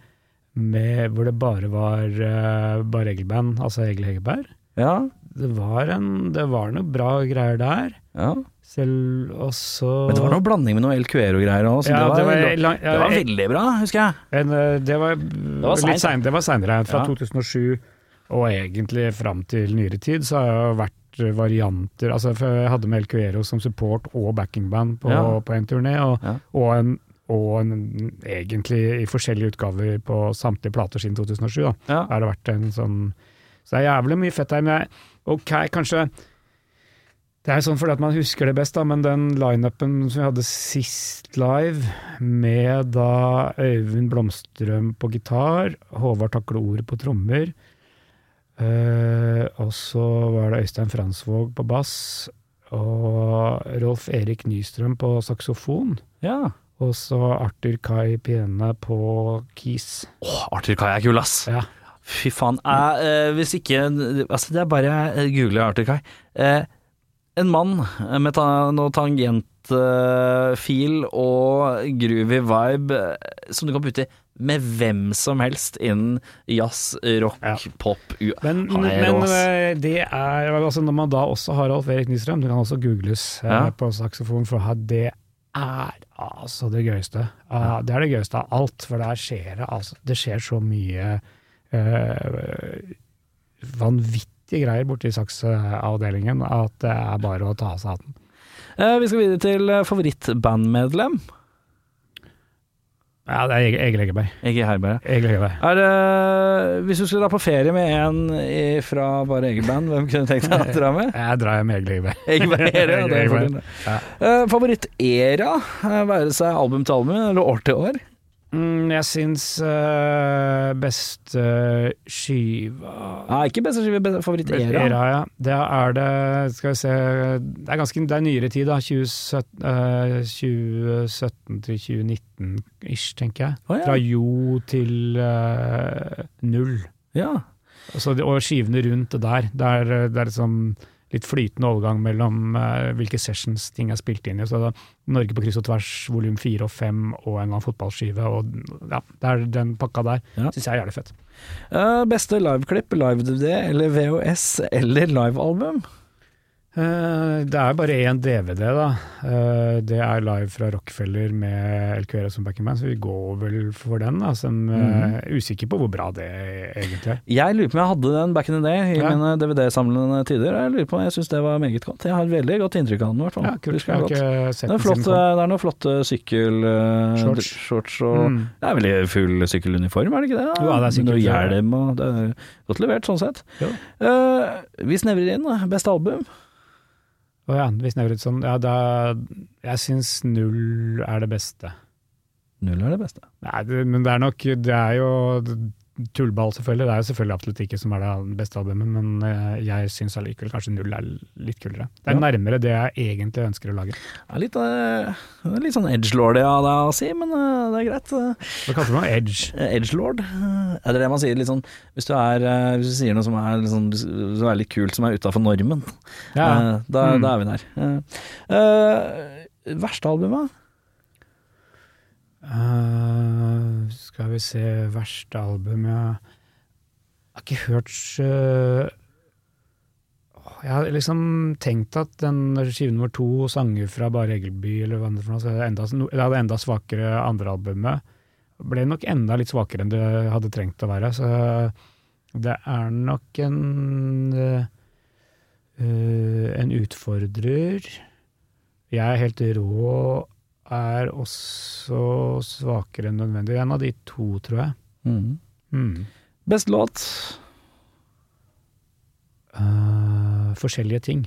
[SPEAKER 3] med hvor det bare var eh, bare Egil-band, altså Egil Hegerberg.
[SPEAKER 2] Ja.
[SPEAKER 3] Det var, en, det var noe bra greier der.
[SPEAKER 2] ja.
[SPEAKER 3] Selv også
[SPEAKER 2] Men det var noe blanding med noe El Cuero-greier òg, så
[SPEAKER 3] ja,
[SPEAKER 2] det, var, det,
[SPEAKER 3] lang-
[SPEAKER 2] var,
[SPEAKER 3] ja, en-
[SPEAKER 2] veldig bra, husker jeg.
[SPEAKER 3] en, eh, Det var,
[SPEAKER 2] var
[SPEAKER 3] litt
[SPEAKER 2] seint.
[SPEAKER 3] sein- det var seinere, fra
[SPEAKER 2] Ja.
[SPEAKER 3] 2007 og egentlig fram til nyere tid, så har jeg jo vært eh, varianter altså for Jeg hadde med El Cuero som support og backingband på,
[SPEAKER 2] Ja.
[SPEAKER 3] på en turné, og,
[SPEAKER 2] Ja.
[SPEAKER 3] og, en, og en, egentlig i forskjellige utgaver på samtlige plater siden 2007. da
[SPEAKER 2] Ja.
[SPEAKER 3] har det vært en sånn Så det er jævlig mye fett her, men jeg, ok, kanskje Det er sånn fordi at man husker det best, da, men den lineupen som vi hadde sist live, med da Øyvind Blomstrøm på gitar, Håvard Takle Ordet på trommer, eh, og så var det Øystein Fransvåg på bass, og Rolf Erik Nystrøm på saksofon,
[SPEAKER 2] Ja.
[SPEAKER 3] Og så Arthur Kai Piene på Keys.
[SPEAKER 2] Åh, Arthur Kai er kul, ass.
[SPEAKER 3] Ja.
[SPEAKER 2] Fy faen. Jeg, eh, hvis ikke Altså, det er bare jeg googler Arthur Kai. Eh, en mann med ta, noe tangentfil og groovy vibe eh, som du kan putte med hvem som helst innen jazz, rock,
[SPEAKER 3] Ja.
[SPEAKER 2] pop u-
[SPEAKER 3] Men,
[SPEAKER 2] Han er
[SPEAKER 3] men
[SPEAKER 2] rå, ass.
[SPEAKER 3] eh, det er altså Når man da også har Alf Erik Nystrøm, det kan også googles eh,
[SPEAKER 2] Ja.
[SPEAKER 3] på saksofon, for ha- det er altså det gøyeste. Ah, Det er det gøyeste av alt, for der skjer det altså Det skjer så mye eh, vanvittige greier borti saksavdelingen at det er bare å ta av seg hatten.
[SPEAKER 2] Eh, vi skal videre til eh, favorittbandmedlem.
[SPEAKER 3] Ja, det er Egil- Egil Eggeberg.
[SPEAKER 2] Ikke Herberg.
[SPEAKER 3] Egil Eggeberg.
[SPEAKER 2] Er det, hvis du skulle dra på ferie med en fra bare eget band, hvem kunne du tenkt deg å dra med?
[SPEAKER 3] Jeg drar med Egil Eggeberg. [laughs]
[SPEAKER 2] Eggbeiere, ja, det er
[SPEAKER 3] Eggbeiere.
[SPEAKER 2] fordelen. Eh, Favorittera, eh, være seg album til album eller år til år.
[SPEAKER 3] Mm, jeg syns eh, beste skiva
[SPEAKER 2] Nei, ikke beste skive, beste favorittera.
[SPEAKER 3] Era, ja. Det er det Skal vi se Det er ganske Det er nyere tid, da. 2017, eh, 2017 til 2019 ish, tenker jeg.
[SPEAKER 2] Å, ja.
[SPEAKER 3] Fra jo til eh, null.
[SPEAKER 2] Ja.
[SPEAKER 3] Så, det- og skivene rundt det der. Det er, eh, det er liksom litt flytende overgang mellom eh, hvilke sessions ting er spilt inn i. Så det er Norge på kryss og tvers, volum fire og fem, og en eller annen fotballskive. Og, ja, det er den pakka der.
[SPEAKER 2] Ja.
[SPEAKER 3] Syns jeg er jævlig fett.
[SPEAKER 2] Eh, beste liveklipp, live-DVD eller VHS eller livealbum?
[SPEAKER 3] Eh, Det er bare én DVD, da. Eh, Det er live fra Rockefeller med El Cuero som backing band, så vi går vel for den. da, som eh,
[SPEAKER 2] Mhm.
[SPEAKER 3] er Usikker på hvor bra det egentlig er.
[SPEAKER 2] Jeg lurer på om jeg hadde den back in the day i
[SPEAKER 3] Ja.
[SPEAKER 2] mine DVD-samlende tider. Jeg lurer på om jeg syns det var meget godt. Jeg har et veldig godt inntrykk av den, i hvert fall.
[SPEAKER 3] Ja, kult.
[SPEAKER 2] Husker
[SPEAKER 3] Jeg
[SPEAKER 2] jeg
[SPEAKER 3] har
[SPEAKER 2] godt.
[SPEAKER 3] ikke sett
[SPEAKER 2] Det
[SPEAKER 3] den
[SPEAKER 2] er, flott,
[SPEAKER 3] siden. den
[SPEAKER 2] eh, det er noen flotte
[SPEAKER 3] Shorts.
[SPEAKER 2] sykkelshorts shorts og
[SPEAKER 3] kom. Mm.
[SPEAKER 2] Det er veldig full sykkeluniform, er det ikke det?
[SPEAKER 3] Jo, ja, det er sykkel-
[SPEAKER 2] Noe hjelm og det er Godt levert, sånn sett.
[SPEAKER 3] Jo.
[SPEAKER 2] Eh, vi snevrer inn. da. Beste album?
[SPEAKER 3] Å ja, hvis det er litt sånn, ja, det er, jeg syns null er det beste.
[SPEAKER 2] Null er det beste.
[SPEAKER 3] Nei, det, men det er nok Det er jo tullball, selvfølgelig. Det er jo selvfølgelig absolutt ikke som er det beste albumet, men eh, jeg syns allikevel kanskje null er litt kulere. Det er nærmere det jeg egentlig ønsker å lage.
[SPEAKER 2] Det er litt, eh, det er litt sånn edgelord ja, det er å si, men eh, det er greit.
[SPEAKER 3] Hva kaller man edge?
[SPEAKER 2] Eh, edgelord, eh, er det det man sier? Litt sånn, hvis, du er, eh, hvis du sier noe som er litt, sånn, som er litt kult, som er utafor normen,
[SPEAKER 3] Ja.
[SPEAKER 2] eh, da,
[SPEAKER 3] Mm.
[SPEAKER 2] da er vi der. Eh, eh, verste albumet?
[SPEAKER 3] Eh, skal vi se Verste album Jeg har ikke hørt så Åh, Jeg har liksom tenkt at den skive nummer to, sanger fra bare Egelby, eller hva det er for noe, så er det enda, det er det enda svakere andre albumet. Ble nok enda litt svakere enn det hadde trengt å være. Så det er nok en eh, eh, en utfordrer. Jeg er helt rå er også svakere enn nødvendig. En av de to, tror jeg. Mm.
[SPEAKER 2] Best låt?
[SPEAKER 3] Eh, forskjellige ting.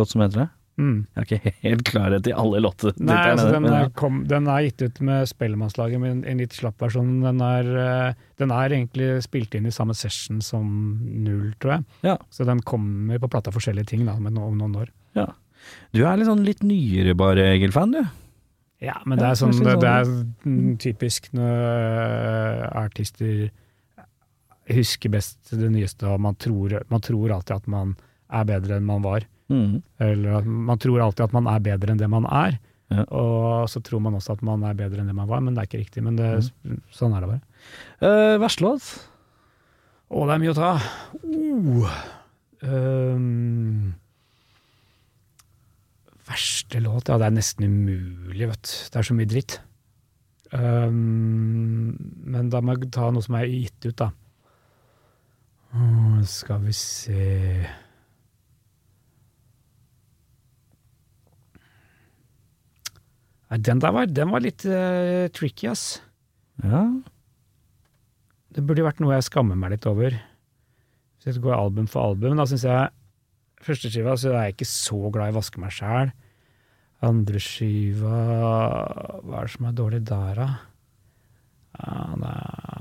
[SPEAKER 2] Låt som heter det?
[SPEAKER 3] Mm.
[SPEAKER 2] Jeg har ikke helt klarhet i alle låter.
[SPEAKER 3] Nei, altså, den,
[SPEAKER 2] Men,
[SPEAKER 3] er
[SPEAKER 2] ja.
[SPEAKER 3] kom, den er gitt ut med Spellemannslaget, men en litt slapp versjon. Den er, eh, den er egentlig spilt inn i samme session som Null, tror jeg.
[SPEAKER 2] Ja.
[SPEAKER 3] Så den kommer på plata forskjellige ting da, men om noen år.
[SPEAKER 2] Du er litt sånn litt nyere bare Egil-fan, du.
[SPEAKER 3] Ja, men det
[SPEAKER 2] Ja,
[SPEAKER 3] er, sånn,
[SPEAKER 2] jeg
[SPEAKER 3] det,
[SPEAKER 2] synes
[SPEAKER 3] det er mm, typisk når artister husker best det nyeste, og man tror, man tror alltid at man er bedre enn man var. Eller at man tror alltid at man er bedre enn det man er.
[SPEAKER 2] Ja.
[SPEAKER 3] Og så tror man også at man er bedre enn det man var, men det er ikke riktig. Men det, sånn er det bare.
[SPEAKER 2] Eh, verste låt?
[SPEAKER 3] Å, det er mye å ta. Oh. Ehm. verste låt? Ja, det er nesten umulig, vet du. Det er så mye dritt. Ehm, men da må jeg ta noe som er gitt ut, da. Åh, skal vi se Nei, Den der var, den var litt eh, tricky, ass.
[SPEAKER 2] Ja.
[SPEAKER 3] Det burde jo vært noe jeg skammer meg litt over. Hvis jeg skal gå album for album, da syns jeg Første skiva så er jeg ikke så glad i å vaske meg sjæl. Andre skiva Hva er det som er dårlig der, da? Ja, det er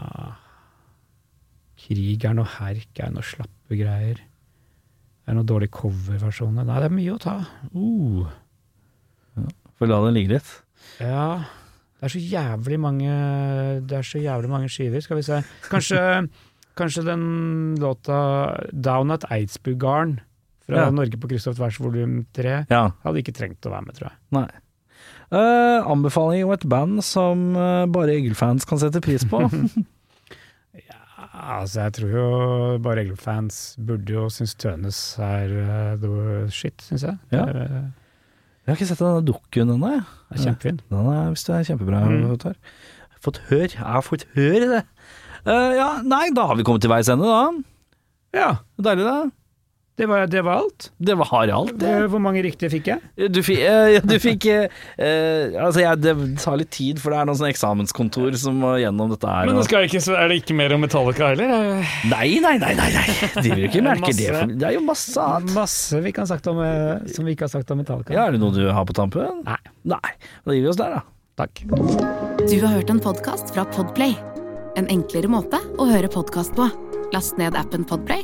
[SPEAKER 3] Krig er noe herk, er noe slappe greier. Det er noen dårlige coverversjoner. Nei, det er mye å ta. Uh.
[SPEAKER 2] Får la det ligge litt.
[SPEAKER 3] Ja, det er så jævlig mange Det er så jævlig mange skiver, skal vi se. Kanskje, [laughs] kanskje den låta 'Down at Eidsbugarden' fra
[SPEAKER 2] Ja.
[SPEAKER 3] Norge på Kristoff Tvers volum 3
[SPEAKER 2] Ja.
[SPEAKER 3] hadde ikke trengt å være med, tror jeg.
[SPEAKER 2] Nei. Eh, anbefaling om et band som eh, bare Egil-fans kan sette pris på.
[SPEAKER 3] Altså, jeg tror jo bare Egil-fans burde jo synes Tønes er eh, the shit, syns jeg.
[SPEAKER 2] Ja.
[SPEAKER 3] Det er,
[SPEAKER 2] Jeg har ikke sett denne dukken ennå, jeg.
[SPEAKER 3] eh, Kjempefin.
[SPEAKER 2] Den er visst det er kjempebra.
[SPEAKER 3] Mm.
[SPEAKER 2] Tar. Fått hør. Jeg har fått hør i det. Eh, ja, nei, da har vi kommet til veis ende, da.
[SPEAKER 3] Ja,
[SPEAKER 2] Deilig, det.
[SPEAKER 3] det var, det var alt. Eh,
[SPEAKER 2] Det var alt, det.
[SPEAKER 3] Hvor mange riktige fikk jeg?
[SPEAKER 2] Du fikk, eh, du fikk eh, eh, Altså, jeg, det tar litt tid, for det er noen sånne eksamenskontor som må gjennom dette her.
[SPEAKER 5] Men
[SPEAKER 2] og-
[SPEAKER 3] altså,
[SPEAKER 5] det skal ikke, så er det ikke mer om Metallica heller?
[SPEAKER 2] Nei, nei, nei, nei, nei. De vil ikke merke det.
[SPEAKER 3] Masse.
[SPEAKER 2] For, det er jo masse annet.
[SPEAKER 3] Masse vi kan sagt om, eh, som vi ikke har sagt om Metallica.
[SPEAKER 2] Ja, er det noe du har på tampen?
[SPEAKER 3] Nei.
[SPEAKER 2] Nei. Da gir vi oss der, da.
[SPEAKER 3] Takk.
[SPEAKER 1] Du har hørt en podkast fra Podplay. En enklere måte å høre podkast på. Last ned appen Podplay,